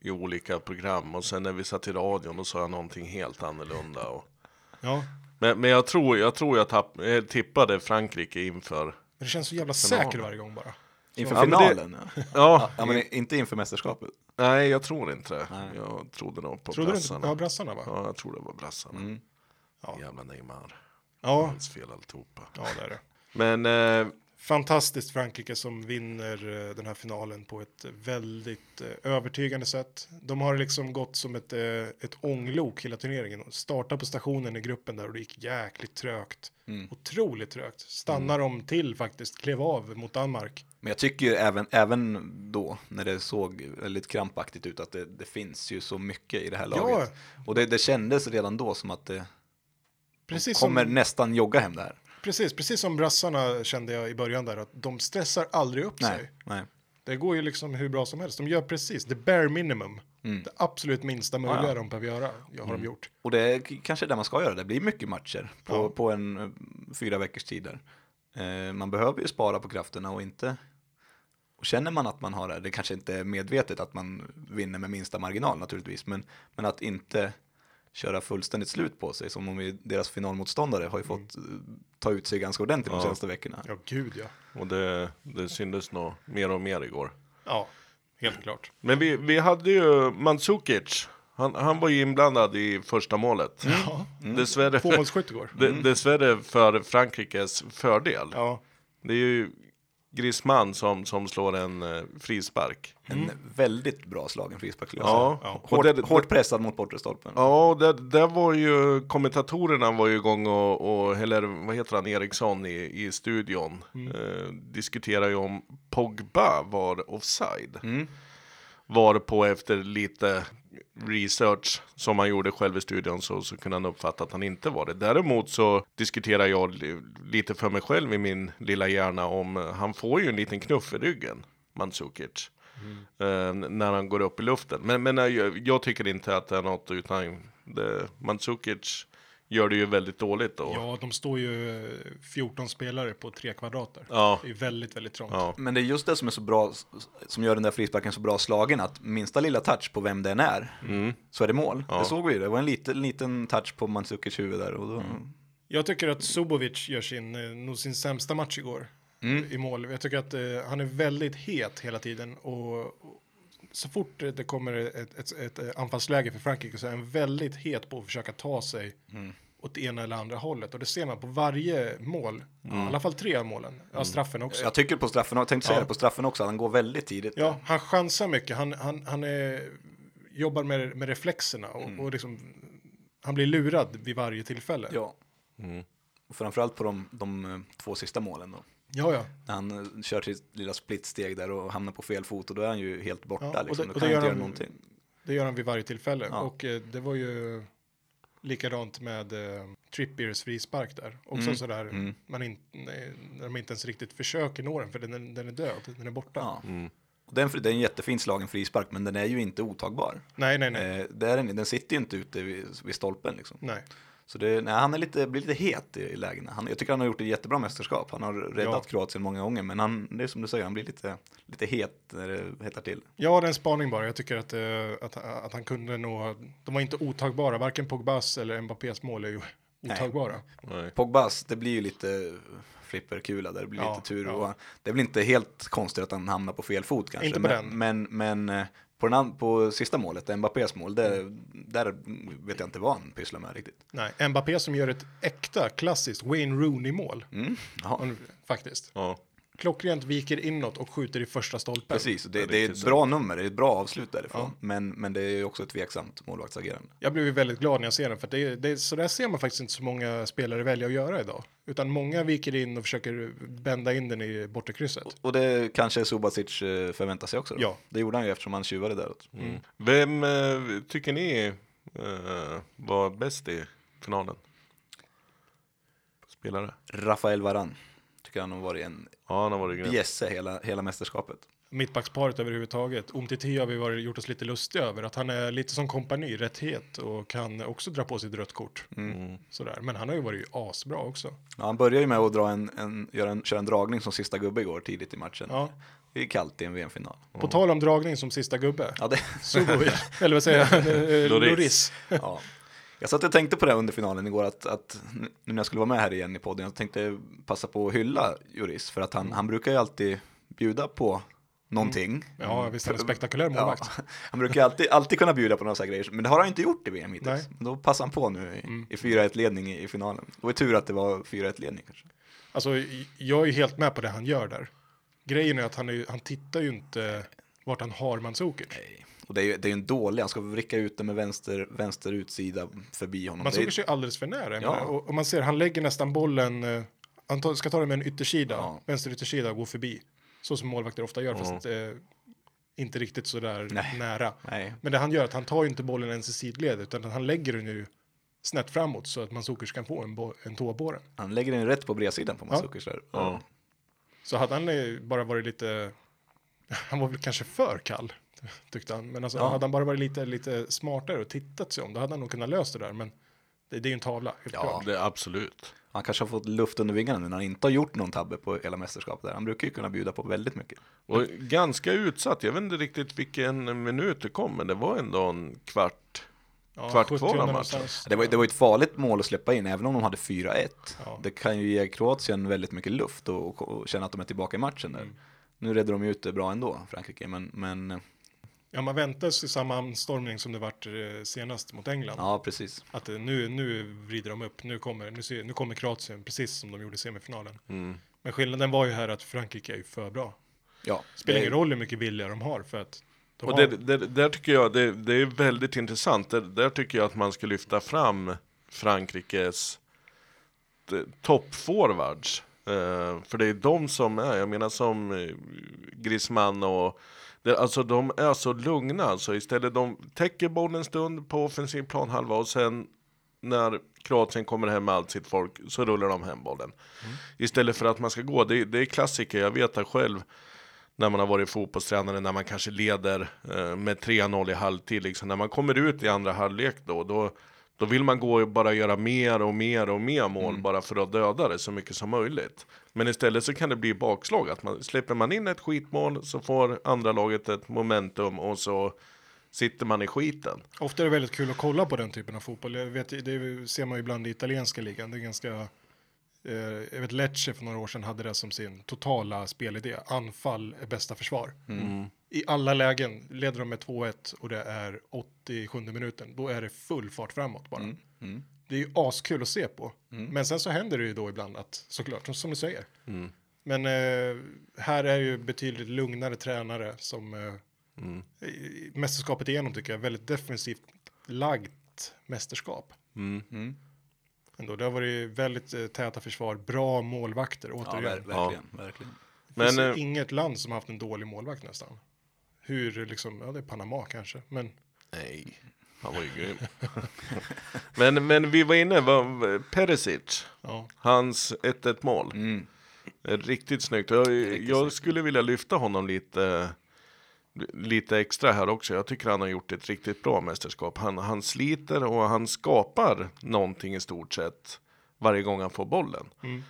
[SPEAKER 3] i olika program och sen när vi satt i radion då sa jag någonting helt annorlunda. Och...
[SPEAKER 2] Ja,
[SPEAKER 3] Men, men jag tror jag, tror jag tapp, eh, tippade Frankrike inför.
[SPEAKER 2] Men det känns så jävla säker varje gång bara.
[SPEAKER 4] Inför
[SPEAKER 3] Ja, men det-
[SPEAKER 4] finalen. Ja.
[SPEAKER 3] Ja,
[SPEAKER 4] Ja, men inte inför mästerskapet.
[SPEAKER 3] nej jag tror inte det. Jag trodde nog på
[SPEAKER 2] Trodde du inte?
[SPEAKER 3] brassarna.
[SPEAKER 2] Ja, brassarna va?
[SPEAKER 3] Ja, jag tror det var brassarna. Jävla Neymar.
[SPEAKER 2] Ja,
[SPEAKER 3] Hans fel alltihopa.
[SPEAKER 2] ja det är det.
[SPEAKER 3] Men eh,
[SPEAKER 2] Fantastiskt Frankrike som vinner eh, den här finalen på ett väldigt eh, övertygande sätt. De har liksom gått som ett, eh, ett ånglok hela turneringen. Och Startade på stationen i gruppen där och det gick jäkligt trögt.
[SPEAKER 3] Mm.
[SPEAKER 2] Otroligt trögt. Stannar de till faktiskt, klev av mot Danmark.
[SPEAKER 4] Men jag tycker ju även, även då, när det såg lite krampaktigt ut, att det, det finns ju så mycket i det här
[SPEAKER 2] Ja.
[SPEAKER 4] laget. Och det, det kändes redan då som att det
[SPEAKER 2] Precis
[SPEAKER 4] kommer
[SPEAKER 2] som,
[SPEAKER 4] nästan jogga hem det här.
[SPEAKER 2] precis, precis som brassarna kände jag i början där att de stressar aldrig upp sig.
[SPEAKER 4] Nej, nej.
[SPEAKER 2] Det går ju liksom hur bra som helst. De gör precis det bare minimum. Det absolut minsta möjliga
[SPEAKER 4] Ja, ja.
[SPEAKER 2] de behöver göra. Mm. Ah, Ja, Mm. har de gjort.
[SPEAKER 4] Och det är k- kanske det man ska göra, det blir mycket matcher på,
[SPEAKER 2] Ja.
[SPEAKER 4] på en eh, fyra veckors tid där. Eh, man behöver ju spara på krafterna och inte... Och känner man att man har det, det kanske inte är medvetet att man vinner med minsta marginal naturligtvis, men, men att inte köra fullständigt slut på sig, som om vi, deras finalmotståndare
[SPEAKER 3] Mm.
[SPEAKER 4] har ju fått eh, ta ut sig ganska ordentligt de senaste veckorna.
[SPEAKER 2] Ja, gud ja.
[SPEAKER 3] och det, det syndes nog mer och mer igår.
[SPEAKER 2] Ja, helt klart.
[SPEAKER 3] Men vi, vi hade ju Mandzukic. Han, han var ju inblandad i första målet.
[SPEAKER 2] Mm.
[SPEAKER 3] Dessvärre, för,
[SPEAKER 2] Tvåmålsskytt igår.
[SPEAKER 3] de, dessvärre för Frankrikes fördel.
[SPEAKER 2] Ja,
[SPEAKER 3] Det är ju Griezmann som, som slår en eh, frispark.
[SPEAKER 4] En väldigt bra slagen frispark skulle jag
[SPEAKER 3] Mm. Ja.
[SPEAKER 4] säga.
[SPEAKER 3] Ja. Och
[SPEAKER 4] Hårt,
[SPEAKER 3] det-
[SPEAKER 4] hårt pressad mot bortre stolpen.
[SPEAKER 3] Ja, och där, där var ju kommentatorerna var ju igång och, och eller vad heter han, Eriksson i, i studion. Eh, diskuterade ju om Pogba var offside. Var på efter lite research som han gjorde själv i studion så, så kunde han uppfatta att han inte var det. Däremot så diskuterar jag li- lite för mig själv i min lilla hjärna om eh, han får ju en liten knuff i ryggen, Mandzukic. eh, när han går upp i luften. Men, men eh, jag, jag tycker inte att det är något utan det, Mandzukic gör det ju väldigt dåligt då.
[SPEAKER 2] ja de står ju eh, 14 spelare på tre kvadrater.
[SPEAKER 3] Ja.
[SPEAKER 2] Det är väldigt, väldigt trångt.
[SPEAKER 3] Ja.
[SPEAKER 4] Men det är just det som är så bra, som gör den där frisparken så bra slagen, att minsta lilla touch på vem den är,
[SPEAKER 2] Mm.
[SPEAKER 4] så är det mål. Det såg vi ju, det var en liten, liten touch på
[SPEAKER 2] Mm.
[SPEAKER 4] Mandzukic huvud där. Och då,
[SPEAKER 2] Jag tycker att Sobovic gör sin, eh, nog sin sämsta match igår. i mål. Jag tycker att eh, han är väldigt het hela tiden och, och så fort det kommer ett, ett, ett eh, anfallsläge för Frankrike så är han väldigt het på att försöka ta sig åt ena eller andra hållet och det ser man på varje mål, i alla fall tre av målen, ja, straffen också.
[SPEAKER 4] Jag tycker på straffen, jag tänkte säga det, på straffen också, att han går väldigt tidigt.
[SPEAKER 2] Ja, han chansar mycket. Han, han, han är, jobbar med, med reflexerna och, och liksom, han blir lurad vid varje tillfälle.
[SPEAKER 4] Ja.
[SPEAKER 3] Mm.
[SPEAKER 4] Och framförallt på de, de eh, två sista målen då.
[SPEAKER 2] ja. ja.
[SPEAKER 4] När han eh, kör sitt lilla splitsteg där och hamnar på fel fot och då är han ju helt borta.
[SPEAKER 2] Ja, och
[SPEAKER 4] liksom.
[SPEAKER 2] det-
[SPEAKER 4] Då
[SPEAKER 2] och
[SPEAKER 4] kan
[SPEAKER 2] det
[SPEAKER 4] han inte
[SPEAKER 2] gör
[SPEAKER 4] göra
[SPEAKER 2] han-
[SPEAKER 4] någonting.
[SPEAKER 2] Det gör han vid varje tillfälle
[SPEAKER 4] Ja.
[SPEAKER 2] och eh, det var ju likadant med eh, Trippiers frispark där. Också
[SPEAKER 4] Mm.
[SPEAKER 2] sådär, man in, nej, när de inte ens riktigt försöker nå den för den, den är död, den är borta.
[SPEAKER 4] Ja. Och den, det är en jättefin slagen frispark men den är ju inte otagbar.
[SPEAKER 2] Nej, nej, nej.
[SPEAKER 4] Eh, det är den, den sitter ju inte ute vid, vid stolpen liksom.
[SPEAKER 2] nej.
[SPEAKER 4] Så det, nej, han är lite, blir lite het i, i lägena. Han, jag tycker han har gjort ett jättebra mästerskap. Han har räddat
[SPEAKER 2] Ja.
[SPEAKER 4] Kroatien många gånger men han, det är som du säger, han blir lite, lite het när det hettar till.
[SPEAKER 2] Jag har en spaning bara, jag tycker att, eh, att, att han kunde nå, de var inte otagbara, varken Pogbas eller Mbappés mål är ju otagbara.
[SPEAKER 3] Nej.
[SPEAKER 4] Pogbas, det blir ju lite flipperkula där, det blir
[SPEAKER 2] Ja,
[SPEAKER 4] lite tur.
[SPEAKER 2] ja.
[SPEAKER 4] Och han- det är väl inte helt konstigt att han hamnar på fel fot kanske.
[SPEAKER 2] Inte på
[SPEAKER 4] men,
[SPEAKER 2] den.
[SPEAKER 4] Men, men eh, på, den, an- på sista målet, Mbappés mål, det,
[SPEAKER 2] Mm.
[SPEAKER 4] där vet jag inte vad han pysslar med riktigt.
[SPEAKER 2] Nej, Mbappé som gör ett äkta klassiskt Wayne Rooney-mål,
[SPEAKER 4] Mm. Ja,
[SPEAKER 2] om- faktiskt.
[SPEAKER 3] Ja.
[SPEAKER 2] Klockrent viker inåt och skjuter i första stolpen.
[SPEAKER 4] precis, det, det är
[SPEAKER 3] riktigt
[SPEAKER 2] typ
[SPEAKER 4] ett
[SPEAKER 3] så.
[SPEAKER 4] bra nummer, det är ett bra avslut därifrån. Men, men det är ju också ett tveksamt målvaktsagerande.
[SPEAKER 2] Jag blev ju väldigt glad när jag ser den, för att det, är- det, är- så där ser man faktiskt inte så många spelare välja att göra idag. Utan många viker in och försöker bända in den i bortre krysset.
[SPEAKER 4] Och det kanske Subasic eh, förväntar sig också. Då.
[SPEAKER 2] Ja.
[SPEAKER 4] Det gjorde han ju eftersom han tjuvade däråt.
[SPEAKER 3] Mm. Vem eh, tycker ni eh, var bäst i finalen? Spelare?
[SPEAKER 4] Rafael Varan tycker han har varit en
[SPEAKER 3] Ja, han har varit grym.
[SPEAKER 4] bjässe hela, hela mästerskapet.
[SPEAKER 2] Mittbacksparet överhuvudtaget. Umtiti har vi varit, gjort oss lite lustiga över, att han är lite som kompani, rätt het och kan också dra på sig ett rött kort. Sådär. Men han har ju varit asbra också.
[SPEAKER 4] Ja, han börjar ju med att dra en, en, göra en, köra en dragning som sista gubbe igår tidigt i matchen.
[SPEAKER 2] Ja.
[SPEAKER 4] Det är kallt i en VM-final.
[SPEAKER 2] På tal om dragning som sista gubbe.
[SPEAKER 4] Ja, det,
[SPEAKER 2] Subovic, eller vad säger jag? Eh,
[SPEAKER 3] Lloris.
[SPEAKER 2] Lloris.
[SPEAKER 4] ja. Jag satt och tänkte på det här under finalen igår, att, att nu när jag skulle vara med här igen i podden, jag tänkte passa på att hylla Juris, för att han,
[SPEAKER 2] Mm.
[SPEAKER 4] han brukar ju alltid bjuda på någonting.
[SPEAKER 2] Ja, visst är han en spektakulär målvakt.
[SPEAKER 4] han brukar ju alltid, alltid kunna bjuda på några sådana grejer, men det har han ju inte gjort i VM hittills.
[SPEAKER 2] Nej.
[SPEAKER 4] Men Då passar han på nu i, i 4-1-ledning i, i finalen. Det var ju tur att det var 4-1-ledning kanske.
[SPEAKER 2] Alltså, jag är ju helt med på det han gör där. Grejen är att han, är, ju- han tittar ju inte vart han har Mandzukic.
[SPEAKER 4] Och det är ju det är ju en dålig, han ska vricka ut den med vänster, vänster utsida förbi honom. det är,
[SPEAKER 2] Mandzukic är ju alldeles för nära.
[SPEAKER 4] Ja.
[SPEAKER 2] Ja. Och, och man ser, han lägger nästan bollen, eh, han tar- ska ta den med en yttersida,
[SPEAKER 4] Ja. Mm.
[SPEAKER 2] vänster yttersida och gå förbi. Så som målvakter ofta gör, fast eh, inte riktigt så där
[SPEAKER 4] Nej.
[SPEAKER 2] nära.
[SPEAKER 4] Nej.
[SPEAKER 2] Men det han gör är att han tar ju inte bollen ens i sidled, utan han lägger den ju snett framåt så att Mandzukic kan få en, bo- en tå på den.
[SPEAKER 4] Han lägger den rätt på bredsidan på Mandzukic där.
[SPEAKER 3] Ja.
[SPEAKER 2] Så hade han eh, bara varit lite, han var väl kanske för kall tyckte han, men alltså, hade han bara varit lite, lite smartare och tittat sig om, då hade han nog kunnat lösa det där, men det, det är ju en tavla, helt klart.
[SPEAKER 3] Det, absolut.
[SPEAKER 4] Han kanske har fått luft under vingarna nu när han inte har gjort någon tabbe på hela mästerskapet. Där. Han brukar ju kunna bjuda på väldigt mycket.
[SPEAKER 3] Och ganska utsatt. Jag vet inte riktigt vilken minut det kom, men det var ändå en kvart.
[SPEAKER 2] Ja,
[SPEAKER 3] kvart kvar
[SPEAKER 2] 70
[SPEAKER 3] av matchen.
[SPEAKER 2] någonstans.
[SPEAKER 4] Det var, det var ett farligt mål att släppa in, även om de hade 4-1.
[SPEAKER 2] Ja.
[SPEAKER 4] Det kan ju ge Kroatien väldigt mycket luft och, och, och känna att de är tillbaka i matchen där.
[SPEAKER 3] Mm.
[SPEAKER 4] Nu redde de ju ut det bra ändå, Frankrike, men, men
[SPEAKER 2] Ja, man väntade sig samma anstormning som det vart eh, senast mot England.
[SPEAKER 4] ja, precis.
[SPEAKER 2] Att eh, nu, nu vrider de upp, nu kommer, nu, ser, nu kommer Kroatien, precis som de gjorde i semifinalen.
[SPEAKER 4] Mm.
[SPEAKER 2] Men skillnaden var ju här att Frankrike är ju för bra.
[SPEAKER 4] Ja,
[SPEAKER 2] Spelar
[SPEAKER 4] det-
[SPEAKER 2] ingen roll hur mycket vilja de har för att de
[SPEAKER 3] Och
[SPEAKER 2] har...
[SPEAKER 3] det, det, där tycker jag det, det är väldigt intressant. Där, där tycker jag att man ska lyfta fram Frankrikes t- toppforwards. Eh, för det är de som är, jag menar som eh, Griezmann och det, alltså de är så lugna. Alltså istället de täcker bollen en stund på offensiv planhalva och sen när Kroatien kommer hem med allt sitt folk så rullar de hem bollen.
[SPEAKER 2] Mm.
[SPEAKER 3] Istället för att man ska gå, det, det är klassiker, jag vet det själv när man har varit fotbollstränare, när man kanske leder eh, med 3-0 i halvtid. Liksom. När man kommer ut i andra halvlek då, då, då vill man gå och bara göra mer och mer och mer mål bara för att döda det så mycket som möjligt. Men istället så kan det bli bakslag, att man, släpper man in ett skitmål så får andra laget ett momentum och så sitter man i skiten.
[SPEAKER 2] Ofta är det väldigt kul att kolla på den typen av fotboll. Jag vet, det ser man ju ibland i italienska ligan. Det är ganska Eh, jag vet Lecce för några år sedan hade det som sin totala spelidé. Anfall är bästa försvar. I alla lägen leder de med 2-1 och det är 87 minuten. Då är det full fart framåt bara.
[SPEAKER 4] Mm.
[SPEAKER 2] Det är ju askul att se på.
[SPEAKER 3] Mm.
[SPEAKER 2] Men sen så händer det ju då ibland att, såklart, som, som du säger.
[SPEAKER 3] Mm.
[SPEAKER 2] Men eh, här är ju betydligt lugnare tränare som eh,
[SPEAKER 3] Mm.
[SPEAKER 2] i- i- mästerskapet igenom tycker jag, väldigt defensivt lagt mästerskap.
[SPEAKER 3] Mm.
[SPEAKER 4] Mm.
[SPEAKER 2] Ändå, det har varit väldigt eh, täta försvar, bra målvakter
[SPEAKER 4] Ja,
[SPEAKER 2] återigen.
[SPEAKER 4] ver- verkligen, verkligen.
[SPEAKER 2] det finns
[SPEAKER 3] Men,
[SPEAKER 2] ju
[SPEAKER 3] eh,
[SPEAKER 2] inget land som har haft en dålig målvakt nästan. Hur liksom, ja det är Panama kanske, men
[SPEAKER 3] Nej, han var ju grym. men, men vi var inne, var Perisic,
[SPEAKER 2] ja.
[SPEAKER 3] hans 1-1 mål. Eh, Riktigt snyggt. Jag, jag skulle vilja lyfta honom lite, lite extra här också. Jag tycker han har gjort ett riktigt bra mästerskap. Han, han sliter och han skapar någonting i stort sett varje gång han får bollen.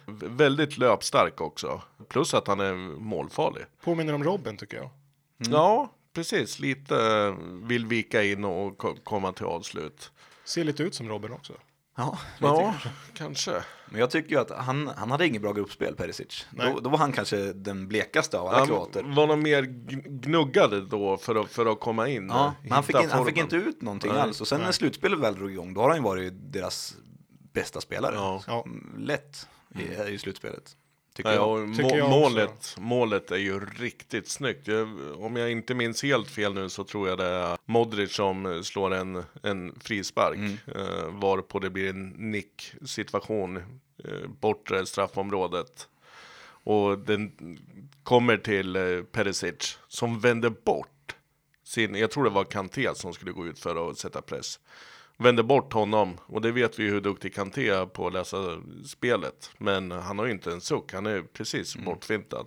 [SPEAKER 3] V- Väldigt löpstark också. Plus att han är målfarlig.
[SPEAKER 2] Påminner om Robben tycker jag.
[SPEAKER 3] Ja, precis. Lite eh, vill vika in och ko- komma till avslut.
[SPEAKER 2] Ser lite ut som Robben också.
[SPEAKER 4] Ja,
[SPEAKER 3] Ja, kanske.
[SPEAKER 4] Men jag tycker ju att han, han hade inget bra gruppspel, Perisic. Då, då var han kanske den blekaste av alla kroater.
[SPEAKER 3] var de mer gn- gnuggade då för att, för att komma in?
[SPEAKER 4] Ja, men han, fick
[SPEAKER 3] hitta
[SPEAKER 4] in, han fick
[SPEAKER 3] formen?
[SPEAKER 4] inte ut någonting
[SPEAKER 3] Nej,
[SPEAKER 4] alls. Och sen när slutspelet väl drog igång, då har han ju varit deras bästa spelare. Mm,
[SPEAKER 3] Ja. Mm.
[SPEAKER 2] Ja.
[SPEAKER 4] Lätt i, i slutspelet, tycker
[SPEAKER 3] Nej,
[SPEAKER 4] jag.
[SPEAKER 3] och
[SPEAKER 2] Tycker
[SPEAKER 3] må,
[SPEAKER 2] jag också.
[SPEAKER 3] målet, målet är ju riktigt snyggt. Jag, om jag inte minns helt fel nu så tror jag det är Modric som slår en, en frispark.
[SPEAKER 4] Mm.
[SPEAKER 3] Eh, varpå det blir en nicksituation eh, bortre straffområdet. Och den kommer till eh, Perisic som vänder bort sin, jag tror det var Kanté som skulle gå ut för att sätta press. Vände bort honom och det vet vi ju hur duktig Kanté är på att läsa spelet. Men han har ju inte en suck, han är precis
[SPEAKER 4] Mm.
[SPEAKER 3] bortfintad.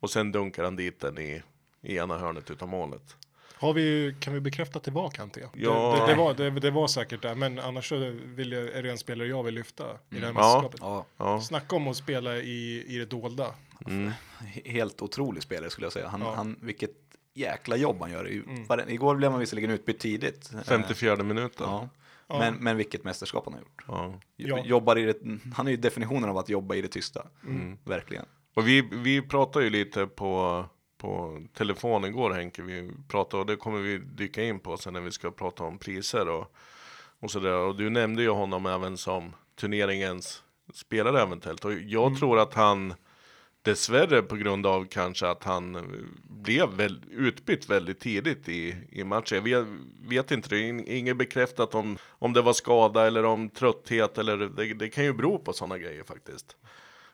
[SPEAKER 3] Och sen dunkar han dit den i, i ena hörnet utav målet.
[SPEAKER 2] Har vi, kan vi bekräfta att det var Kanté?
[SPEAKER 3] Ja.
[SPEAKER 2] Det, det, det, var, det, det var säkert det, men annars så vill jag, är det en spelare jag vill lyfta i det här
[SPEAKER 3] Ja.
[SPEAKER 2] mästerskapet.
[SPEAKER 4] Ja,
[SPEAKER 3] Mm.
[SPEAKER 4] alltså,
[SPEAKER 3] Ja,
[SPEAKER 2] Snacka om att spela i, i det dolda.
[SPEAKER 3] Mm.
[SPEAKER 4] he- helt otrolig spelare skulle jag säga. Han, han, vilket jäkla jobb han gör. I- varen- Igår blev man visserligen utbytt tidigt. Eh,
[SPEAKER 3] 54 minuten.
[SPEAKER 4] Ja. Men, men vilket mästerskap han har gjort.
[SPEAKER 3] Ja.
[SPEAKER 4] Jo-
[SPEAKER 2] Ja.
[SPEAKER 4] Jobbar i det, han är ju definitionen av att jobba i det tysta.
[SPEAKER 3] Mm.
[SPEAKER 4] Verkligen.
[SPEAKER 3] Och vi, vi pratade ju lite på, på telefon igår Henke, vi pratade och det kommer vi dyka in på sen när vi ska prata om priser och, och sådär. Och du nämnde ju honom även som turneringens spelare eventuellt. Och jag tror att han dessvärre på grund av kanske att han eh, blev väl, utbytt väldigt tidigt i, i matchen. Jag vet, vet inte, det är in- inget bekräftat om, om det var skada eller om trötthet eller det, det kan ju bero på sådana grejer faktiskt.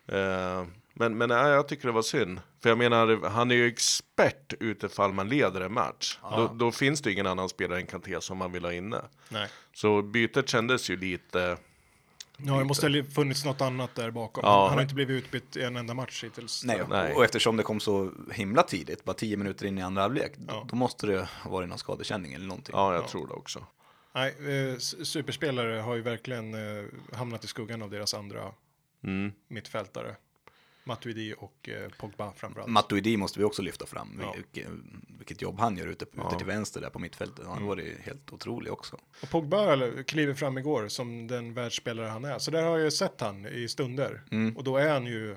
[SPEAKER 3] Eh, Men, men nej, jag tycker det var synd. För jag menar, han är ju expert utifall man leder en match. Då, då finns det ingen annan spelare än Kanté som man vill ha inne.
[SPEAKER 2] Nej.
[SPEAKER 3] Så bytet kändes ju lite...
[SPEAKER 2] Ja, det måste ha funnits något annat där bakom.
[SPEAKER 3] Ja.
[SPEAKER 2] Han har inte blivit utbytt i en enda match hittills.
[SPEAKER 4] Nej,
[SPEAKER 3] Nej.
[SPEAKER 4] Och, och eftersom det kom så himla tidigt, bara tio minuter in i andra halvlek, då, då måste det ha varit någon skadekänning eller någonting.
[SPEAKER 3] Ja, jag tror det också.
[SPEAKER 2] Nej, eh, s- superspelare har ju verkligen eh, hamnat i skuggan av deras andra
[SPEAKER 3] Mm.
[SPEAKER 2] mittfältare. Matuidi och eh, Pogba framförallt.
[SPEAKER 4] Matuidi måste vi också lyfta fram, vilket, vilket jobb han gör ute, ute till vänster där på mittfältet. Han var ju helt otrolig också.
[SPEAKER 2] och Pogba eller, kliver fram igår som den världsspelare han är. Så där har jag ju sett han i stunder.
[SPEAKER 4] Mm.
[SPEAKER 2] Och då är han ju,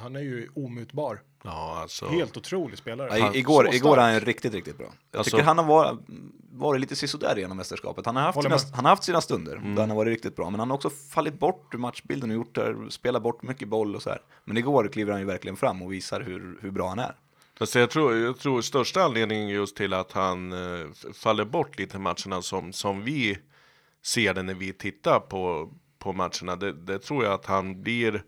[SPEAKER 2] han är ju omutbar.
[SPEAKER 3] Ja, alltså.
[SPEAKER 2] Helt otrolig spelare.
[SPEAKER 4] Ja, i-
[SPEAKER 2] Han- så
[SPEAKER 4] igår
[SPEAKER 2] stark.
[SPEAKER 4] igår var han riktigt, riktigt bra. Jag
[SPEAKER 3] Alltså-
[SPEAKER 4] tycker han har varit, varit lite sisådär genom mästerskapet. Han har, haft
[SPEAKER 2] Håller
[SPEAKER 4] sina,
[SPEAKER 2] med. Mm.
[SPEAKER 4] han har haft sina stunder där han har varit riktigt bra, men han har också fallit bort ur matchbilden och gjort där, spelat bort mycket boll och så här. Men igår kliver han ju verkligen fram och visar hur, hur bra han är.
[SPEAKER 3] Alltså jag, tror, jag tror största anledningen just till att han eh, f- faller bort lite i matcherna som, som vi ser det när vi tittar på, på matcherna. Det, det tror jag att han blir,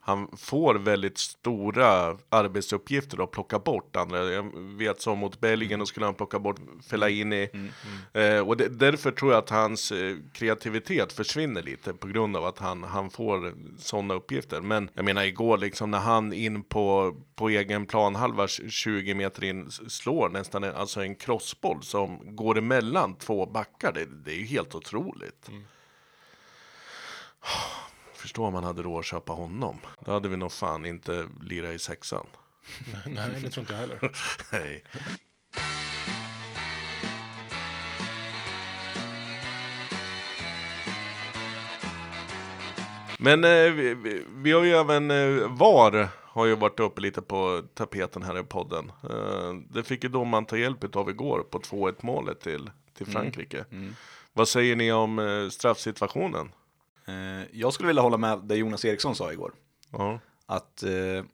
[SPEAKER 3] han får väldigt stora arbetsuppgifter att plocka bort andra. Jag vet som mot Belgien, då skulle han plocka bort Fellaini. Eh, och det, därför tror jag att hans eh, kreativitet försvinner lite på grund av att han, han får sådana uppgifter. Men jag menar igår liksom när han in på, på egen planhalva 20 meter in s- slår nästan en, alltså en crossboll som går emellan två backar. Det, det är ju helt otroligt. Förstår om man hade råd att köpa honom. Då hade vi nog fan inte lirat i sexan.
[SPEAKER 2] Nej, det tror inte jag heller.
[SPEAKER 3] Nej. Men eh, vi, vi, vi har ju även eh, VAR har ju varit uppe lite på tapeten här i podden. Eh, det fick ju domaren ta hjälp av igår på 2-1 målet till,
[SPEAKER 2] Mm.
[SPEAKER 3] till Frankrike. Vad säger ni om eh, straffsituationen?
[SPEAKER 4] Eh, Jag skulle vilja hålla med det Jonas Eriksson sa igår.
[SPEAKER 3] Ja.
[SPEAKER 4] Att, eh,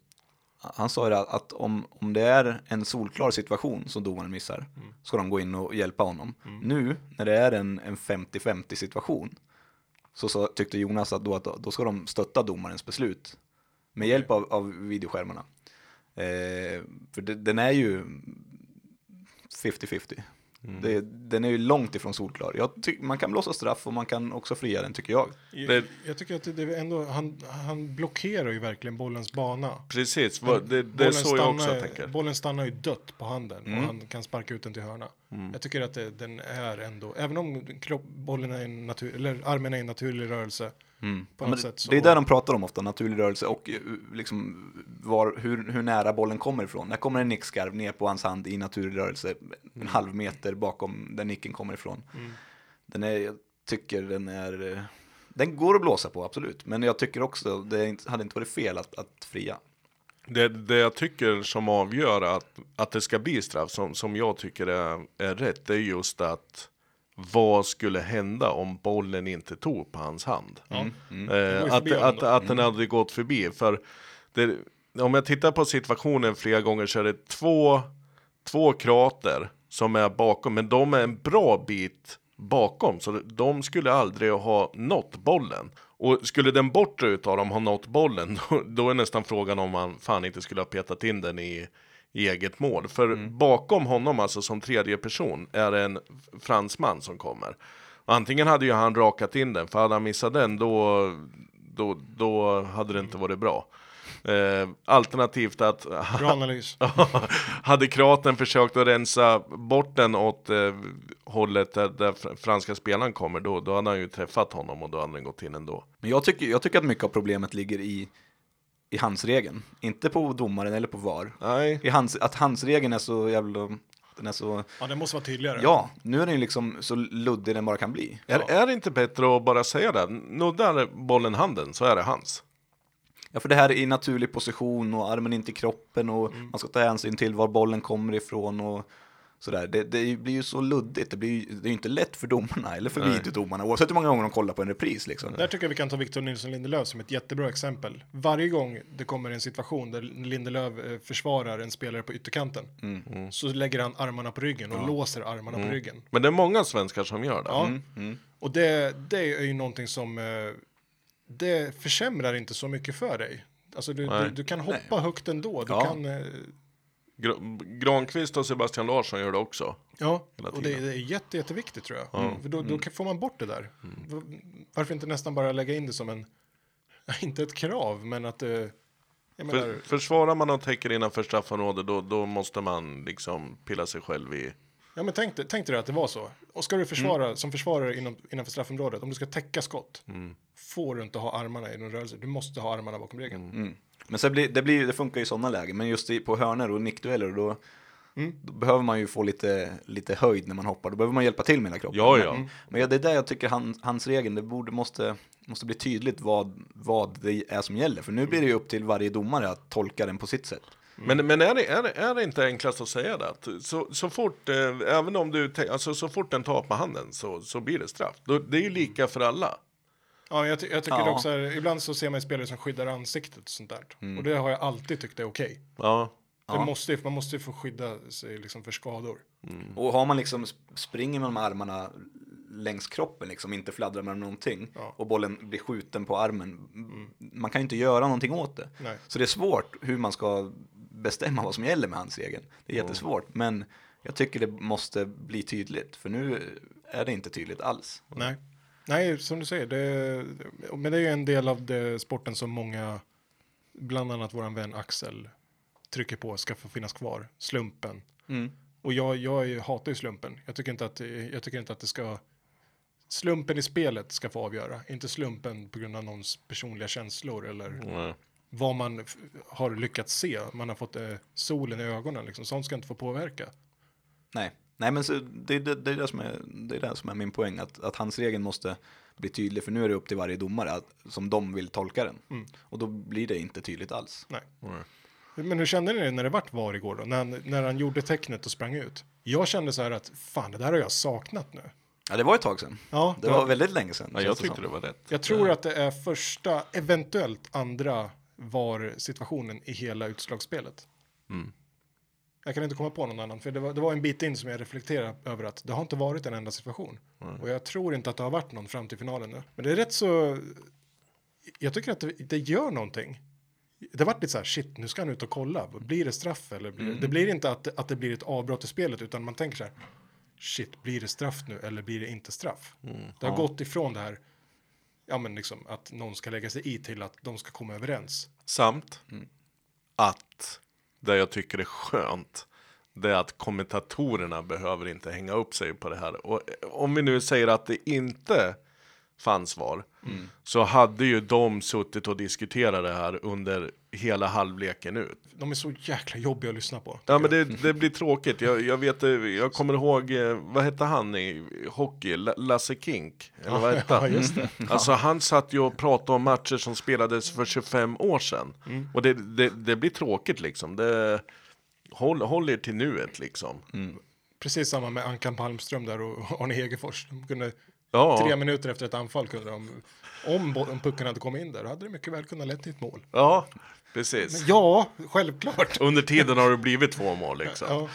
[SPEAKER 4] han sa det att om, om det är en solklar situation som domaren missar ska de gå in och hjälpa honom. Nu när det är en, en 50-50 situation så, sa- tyckte Jonas att, då, att då ska de stötta domarens beslut med hjälp av, av videoskärmarna. Eh, för det, den är ju 50-50. Det, den är ju långt ifrån solklar. Jag tyck, man kan blåsa straff och man kan också fria den tycker jag.
[SPEAKER 2] Jag,
[SPEAKER 3] Det-
[SPEAKER 2] jag tycker att det- det är ändå, han, han blockerar ju verkligen bollens bana.
[SPEAKER 3] Precis, vad, det, det är
[SPEAKER 2] Bollen
[SPEAKER 3] så jag också
[SPEAKER 2] stannar-
[SPEAKER 3] tänker.
[SPEAKER 2] Bollen stannar ju dött på handen
[SPEAKER 4] Mm.
[SPEAKER 2] och han kan sparka ut den till hörna. Jag tycker att det, den är ändå, även om kropp, bollen är en natur, eller armen är en naturlig rörelse på
[SPEAKER 4] Mm. Ja, men
[SPEAKER 2] något
[SPEAKER 4] det-
[SPEAKER 2] sätt. Så,
[SPEAKER 4] Det är där de pratar om ofta, naturlig rörelse och eh, liksom var, hur, hur nära bollen kommer ifrån. När kommer en nickskarv ner på hans hand i naturlig rörelse
[SPEAKER 2] Mm.
[SPEAKER 4] en halv meter bakom där nicken kommer ifrån. Den är, jag tycker den är, eh, den går att blåsa på absolut. Men jag tycker också, det är inte- hade inte varit fel att, att fria.
[SPEAKER 3] Det, det jag tycker som avgör att, att det ska bli straff, som, som jag tycker är, är rätt, det är just att vad skulle hända om bollen inte tog på hans hand?
[SPEAKER 2] Den går
[SPEAKER 3] Eh,
[SPEAKER 2] ju
[SPEAKER 3] att,
[SPEAKER 2] förbi
[SPEAKER 3] att,
[SPEAKER 2] honom
[SPEAKER 3] att den hade gått förbi. För det, om jag tittar på situationen flera gånger så är det två, två krater som är bakom, men de är en bra bit bakom. Så de skulle aldrig ha nått bollen. Och skulle den bortre utav dem ha nått bollen, då, då är nästan frågan om man fan inte skulle ha petat in den i, i eget mål. För bakom honom, alltså som tredje person, är det en fransman som kommer. Antingen hade ju han rakat in den, för hade han missat den då, då, då hade det inte varit bra. Eh, alternativt att
[SPEAKER 2] Bra analys.
[SPEAKER 3] hade kroaten försökt att rensa bort den åt eh, hållet där, där fr- franska spelaren kommer, då, då hade han ju träffat honom och då hade den gått in ändå.
[SPEAKER 4] Men jag tycker, jag tycker att mycket av problemet ligger i, i handsregeln. Inte på domaren eller på VAR.
[SPEAKER 3] Nej,
[SPEAKER 4] I hands, att handsregeln är så jävla, den är så
[SPEAKER 2] Ja, den måste vara tydligare.
[SPEAKER 4] Ja, nu är den ju liksom så luddig den bara kan bli.
[SPEAKER 3] Är, är det inte bättre att bara säga det? Nuddar bollen handen så är det hans.
[SPEAKER 4] Ja, för det här är i naturlig position och armen inte i kroppen och man ska ta hänsyn till var bollen kommer ifrån och sådär. Det, det blir ju så luddigt, det, blir ju, det är ju inte lätt för domarna eller för videodomarna oavsett hur många gånger de kollar på en repris liksom.
[SPEAKER 2] Där tycker jag vi kan ta Victor Nilsson Lindelöf som ett jättebra exempel. Varje gång det kommer en situation där Lindelöf eh, försvarar en spelare på ytterkanten så lägger han armarna på ryggen och låser armarna på ryggen.
[SPEAKER 3] Men det är många svenskar som gör det.
[SPEAKER 2] Ja. Och det, det är ju någonting som eh, det försämrar inte så mycket för dig. Alltså du, du, du kan hoppa högt ändå. Du
[SPEAKER 4] Ja.
[SPEAKER 2] kan, eh,
[SPEAKER 3] Gr- Granqvist och Sebastian Larsson gör det också.
[SPEAKER 2] ja,
[SPEAKER 3] Hela
[SPEAKER 2] och det,
[SPEAKER 3] tiden. Mm.
[SPEAKER 2] det är jätte, jätteviktigt tror jag. För då, då kan- får man bort det där. V- Varför inte nästan bara lägga in det som en, inte ett krav, men att eh, jag menar,
[SPEAKER 3] För, försvarar man och täcker innanför straffområdet då, då måste man liksom pilla sig själv i...
[SPEAKER 2] ja, men tänk, dig- tänk dig att det var så. Och
[SPEAKER 3] Mm.
[SPEAKER 2] ska du försvara som försvarare inom, innanför straffområdet, om du ska täcka skott,
[SPEAKER 3] Mm.
[SPEAKER 2] får du inte ha armarna i någon rörelse. Du måste ha armarna bakom regeln.
[SPEAKER 3] Mm.
[SPEAKER 4] Men sen blir, det, blir, det funkar ju i sådana lägen, men just i, på hörner och nickdueller då, då behöver man ju få lite, lite höjd när man hoppar, då behöver man hjälpa till med hela kroppen.
[SPEAKER 3] Ja, ja.
[SPEAKER 4] Men, men ja, det är där jag tycker han, hans regeln, det borde, måste, måste bli tydligt vad, vad det är som gäller, för nu blir det ju upp till varje domare att tolka den på sitt sätt.
[SPEAKER 3] Men, men är, det, är, det, är det inte enklast att säga det? Att så, så, fort, eh, även om du, tä- alltså, så fort den tar på handen så, så blir det straff. Då, det är ju lika för alla.
[SPEAKER 2] Ja, jag, ty- jag tycker
[SPEAKER 4] Ja.
[SPEAKER 2] det också är, ibland så ser man ju spelare som skyddar ansiktet och sånt där. Och det har jag alltid tyckt är okej.
[SPEAKER 3] Mm. Ja,
[SPEAKER 2] Det måste, ju- man måste ju få skydda sig liksom för skador.
[SPEAKER 4] Och har man liksom, sp- springer man med armarna längs kroppen liksom, inte fladdrar med någonting
[SPEAKER 2] Ja. Mm.
[SPEAKER 4] och bollen blir skjuten på armen. Man kan ju inte göra någonting åt det.
[SPEAKER 2] Nej.
[SPEAKER 4] Så det är svårt hur man ska bestämma vad som gäller med hans regeln. Det är jättesvårt, men jag tycker det måste bli tydligt, för nu är det inte tydligt alls.
[SPEAKER 2] Nej. Nej, som du säger, det, men det är ju en del av det, sporten som många, bland annat våran vän Axel, trycker på ska få finnas kvar. Slumpen. Och jag, jag är- hatar ju slumpen. Jag tycker, inte att, jag tycker inte att det ska... Slumpen i spelet ska få avgöra, inte slumpen på grund av någons personliga känslor eller vad man f- har lyckats se. Man har fått eh, solen i ögonen, liksom. sånt ska inte få påverka.
[SPEAKER 4] Nej, Nej, men så, det, det, det, är det, som är, det är det som är min poäng, att, att hans regeln måste bli tydlig, för nu är det upp till varje domare att, som de vill tolka den.
[SPEAKER 2] Mm.
[SPEAKER 4] Och då blir det inte tydligt alls.
[SPEAKER 2] Nej. Men hur kände ni det när det vart VAR igår då? När han, när han gjorde tecknet och sprang ut? Jag kände så här att fan, det där har jag saknat nu.
[SPEAKER 4] Ja, det var ett tag sedan.
[SPEAKER 2] Ja,
[SPEAKER 4] det var väldigt länge sedan.
[SPEAKER 3] Ja,
[SPEAKER 4] känns
[SPEAKER 3] jag
[SPEAKER 4] det
[SPEAKER 3] tyckte
[SPEAKER 4] som.
[SPEAKER 3] det var rätt.
[SPEAKER 2] Jag tror att det är första, eventuellt andra VAR-situationen i hela utslagsspelet. Jag kan inte komma på någon annan, för det var, det var en bit in som jag reflekterade över att det har inte varit en enda situation. Och jag tror inte att det har varit någon fram till finalen nu. Men det är rätt så, jag tycker att det, det gör någonting. Det vart lite så här, shit, nu ska han ut och kolla. Blir det straff eller? Blir, Det blir inte att, att det blir ett avbrott i spelet, utan man tänker så här, shit, blir det straff nu eller blir det inte straff? Det har gått ifrån det här, ja men liksom att någon ska lägga sig i till att de ska komma överens.
[SPEAKER 3] Samt att det jag tycker är skönt det är att kommentatorerna behöver inte hänga upp sig på det här. Och eh, om vi nu säger att det inte fanns VAR så hade ju de suttit och diskuterat det här under hela halvleken ut.
[SPEAKER 2] De är så jäkla jobbiga att lyssna på.
[SPEAKER 3] Ja men det, det blir tråkigt. Jag, jag, vet, eh, jag kommer ihåg, eh, vad hette han i hockey? La- Lasse Kink? Eller vad hette han?
[SPEAKER 2] ja, just det.
[SPEAKER 3] Alltså han satt ju och pratade om matcher som spelades för 25 år sedan.
[SPEAKER 2] Mm.
[SPEAKER 3] Och det, det, det blir tråkigt liksom. Det, håll, håll er till nuet liksom.
[SPEAKER 2] Mm. Precis samma med Ankan Palmström där och Arne Hegerfors. De kunde,
[SPEAKER 3] Ja.
[SPEAKER 2] Tre minuter efter ett anfall kunde de, om, bo- om pucken hade kommit in där, då hade det mycket väl kunnat lett till ett mål.
[SPEAKER 3] Ja, precis.
[SPEAKER 2] Ja, självklart.
[SPEAKER 3] Under tiden har det blivit två mål liksom.
[SPEAKER 2] Ja,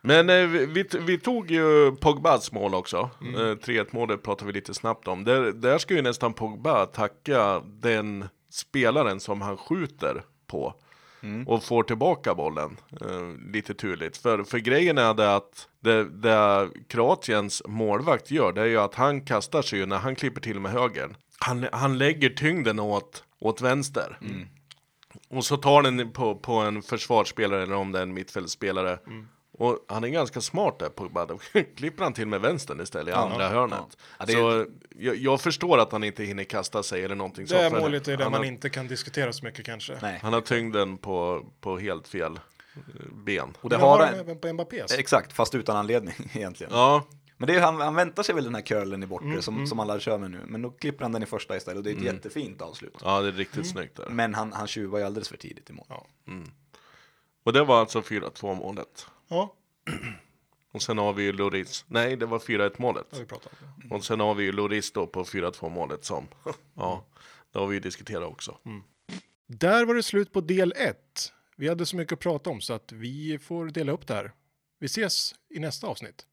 [SPEAKER 3] Men eh, vi, vi t- vi tog ju Pogbas mål också. Eh, 3-1 målet pratar vi lite snabbt om. Där, där ska ju nästan Pogba tacka den spelaren som han skjuter på. Och får tillbaka bollen. Eh, lite turligt. För, för grejen är det att det, det Kroatiens målvakt gör. Det är ju att han kastar sig ju när han klipper till med högern. Han, han lägger tyngden åt, åt vänster. Och så tar den på, på en försvarsspelare eller om det är en mittfältspelare.
[SPEAKER 2] Mm.
[SPEAKER 3] Och han är ganska smart där Pogba. Då klipper han till med vänstern istället i andra hörnet.
[SPEAKER 4] ja. Ja, det är-
[SPEAKER 3] Så jag, jag förstår att han inte hinner kasta sig eller någonting
[SPEAKER 2] det här
[SPEAKER 3] för
[SPEAKER 2] målet är det
[SPEAKER 3] han
[SPEAKER 2] man
[SPEAKER 3] har,
[SPEAKER 2] inte kan diskutera så mycket kanske.
[SPEAKER 4] Nej.
[SPEAKER 3] Han har tyngden på, på helt fel eh, ben.
[SPEAKER 4] Och det Eh,
[SPEAKER 2] Men har
[SPEAKER 4] har
[SPEAKER 2] de
[SPEAKER 4] han,
[SPEAKER 2] även på Mbappés?
[SPEAKER 4] exakt, fast utan anledning egentligen.
[SPEAKER 3] Ja,
[SPEAKER 4] Men det är, han, han väntar sig väl den här curlen i bortre
[SPEAKER 2] Mm,
[SPEAKER 4] som, som alla kör med nu. Men då klipper han den i första istället och det är ett jättefint avslut.
[SPEAKER 3] Mm. ja, det är riktigt
[SPEAKER 2] Mm.
[SPEAKER 3] snyggt där.
[SPEAKER 4] Men han, han tjuvar ju alldeles för tidigt i mål.
[SPEAKER 2] Ja.
[SPEAKER 3] Och det var alltså 4-2 målet.
[SPEAKER 2] Ja,
[SPEAKER 3] Och sen har vi ju Loris. Nej, det var 4-1
[SPEAKER 2] det har
[SPEAKER 3] målet.
[SPEAKER 2] vi pratat om.
[SPEAKER 3] Och sen har vi ju Loris då på 4-2 målet som. Ja, det har vi ju diskuterat också.
[SPEAKER 2] Där var det slut på del 1. Vi hade så mycket att prata om så att vi får dela upp det här. Vi ses i nästa avsnitt.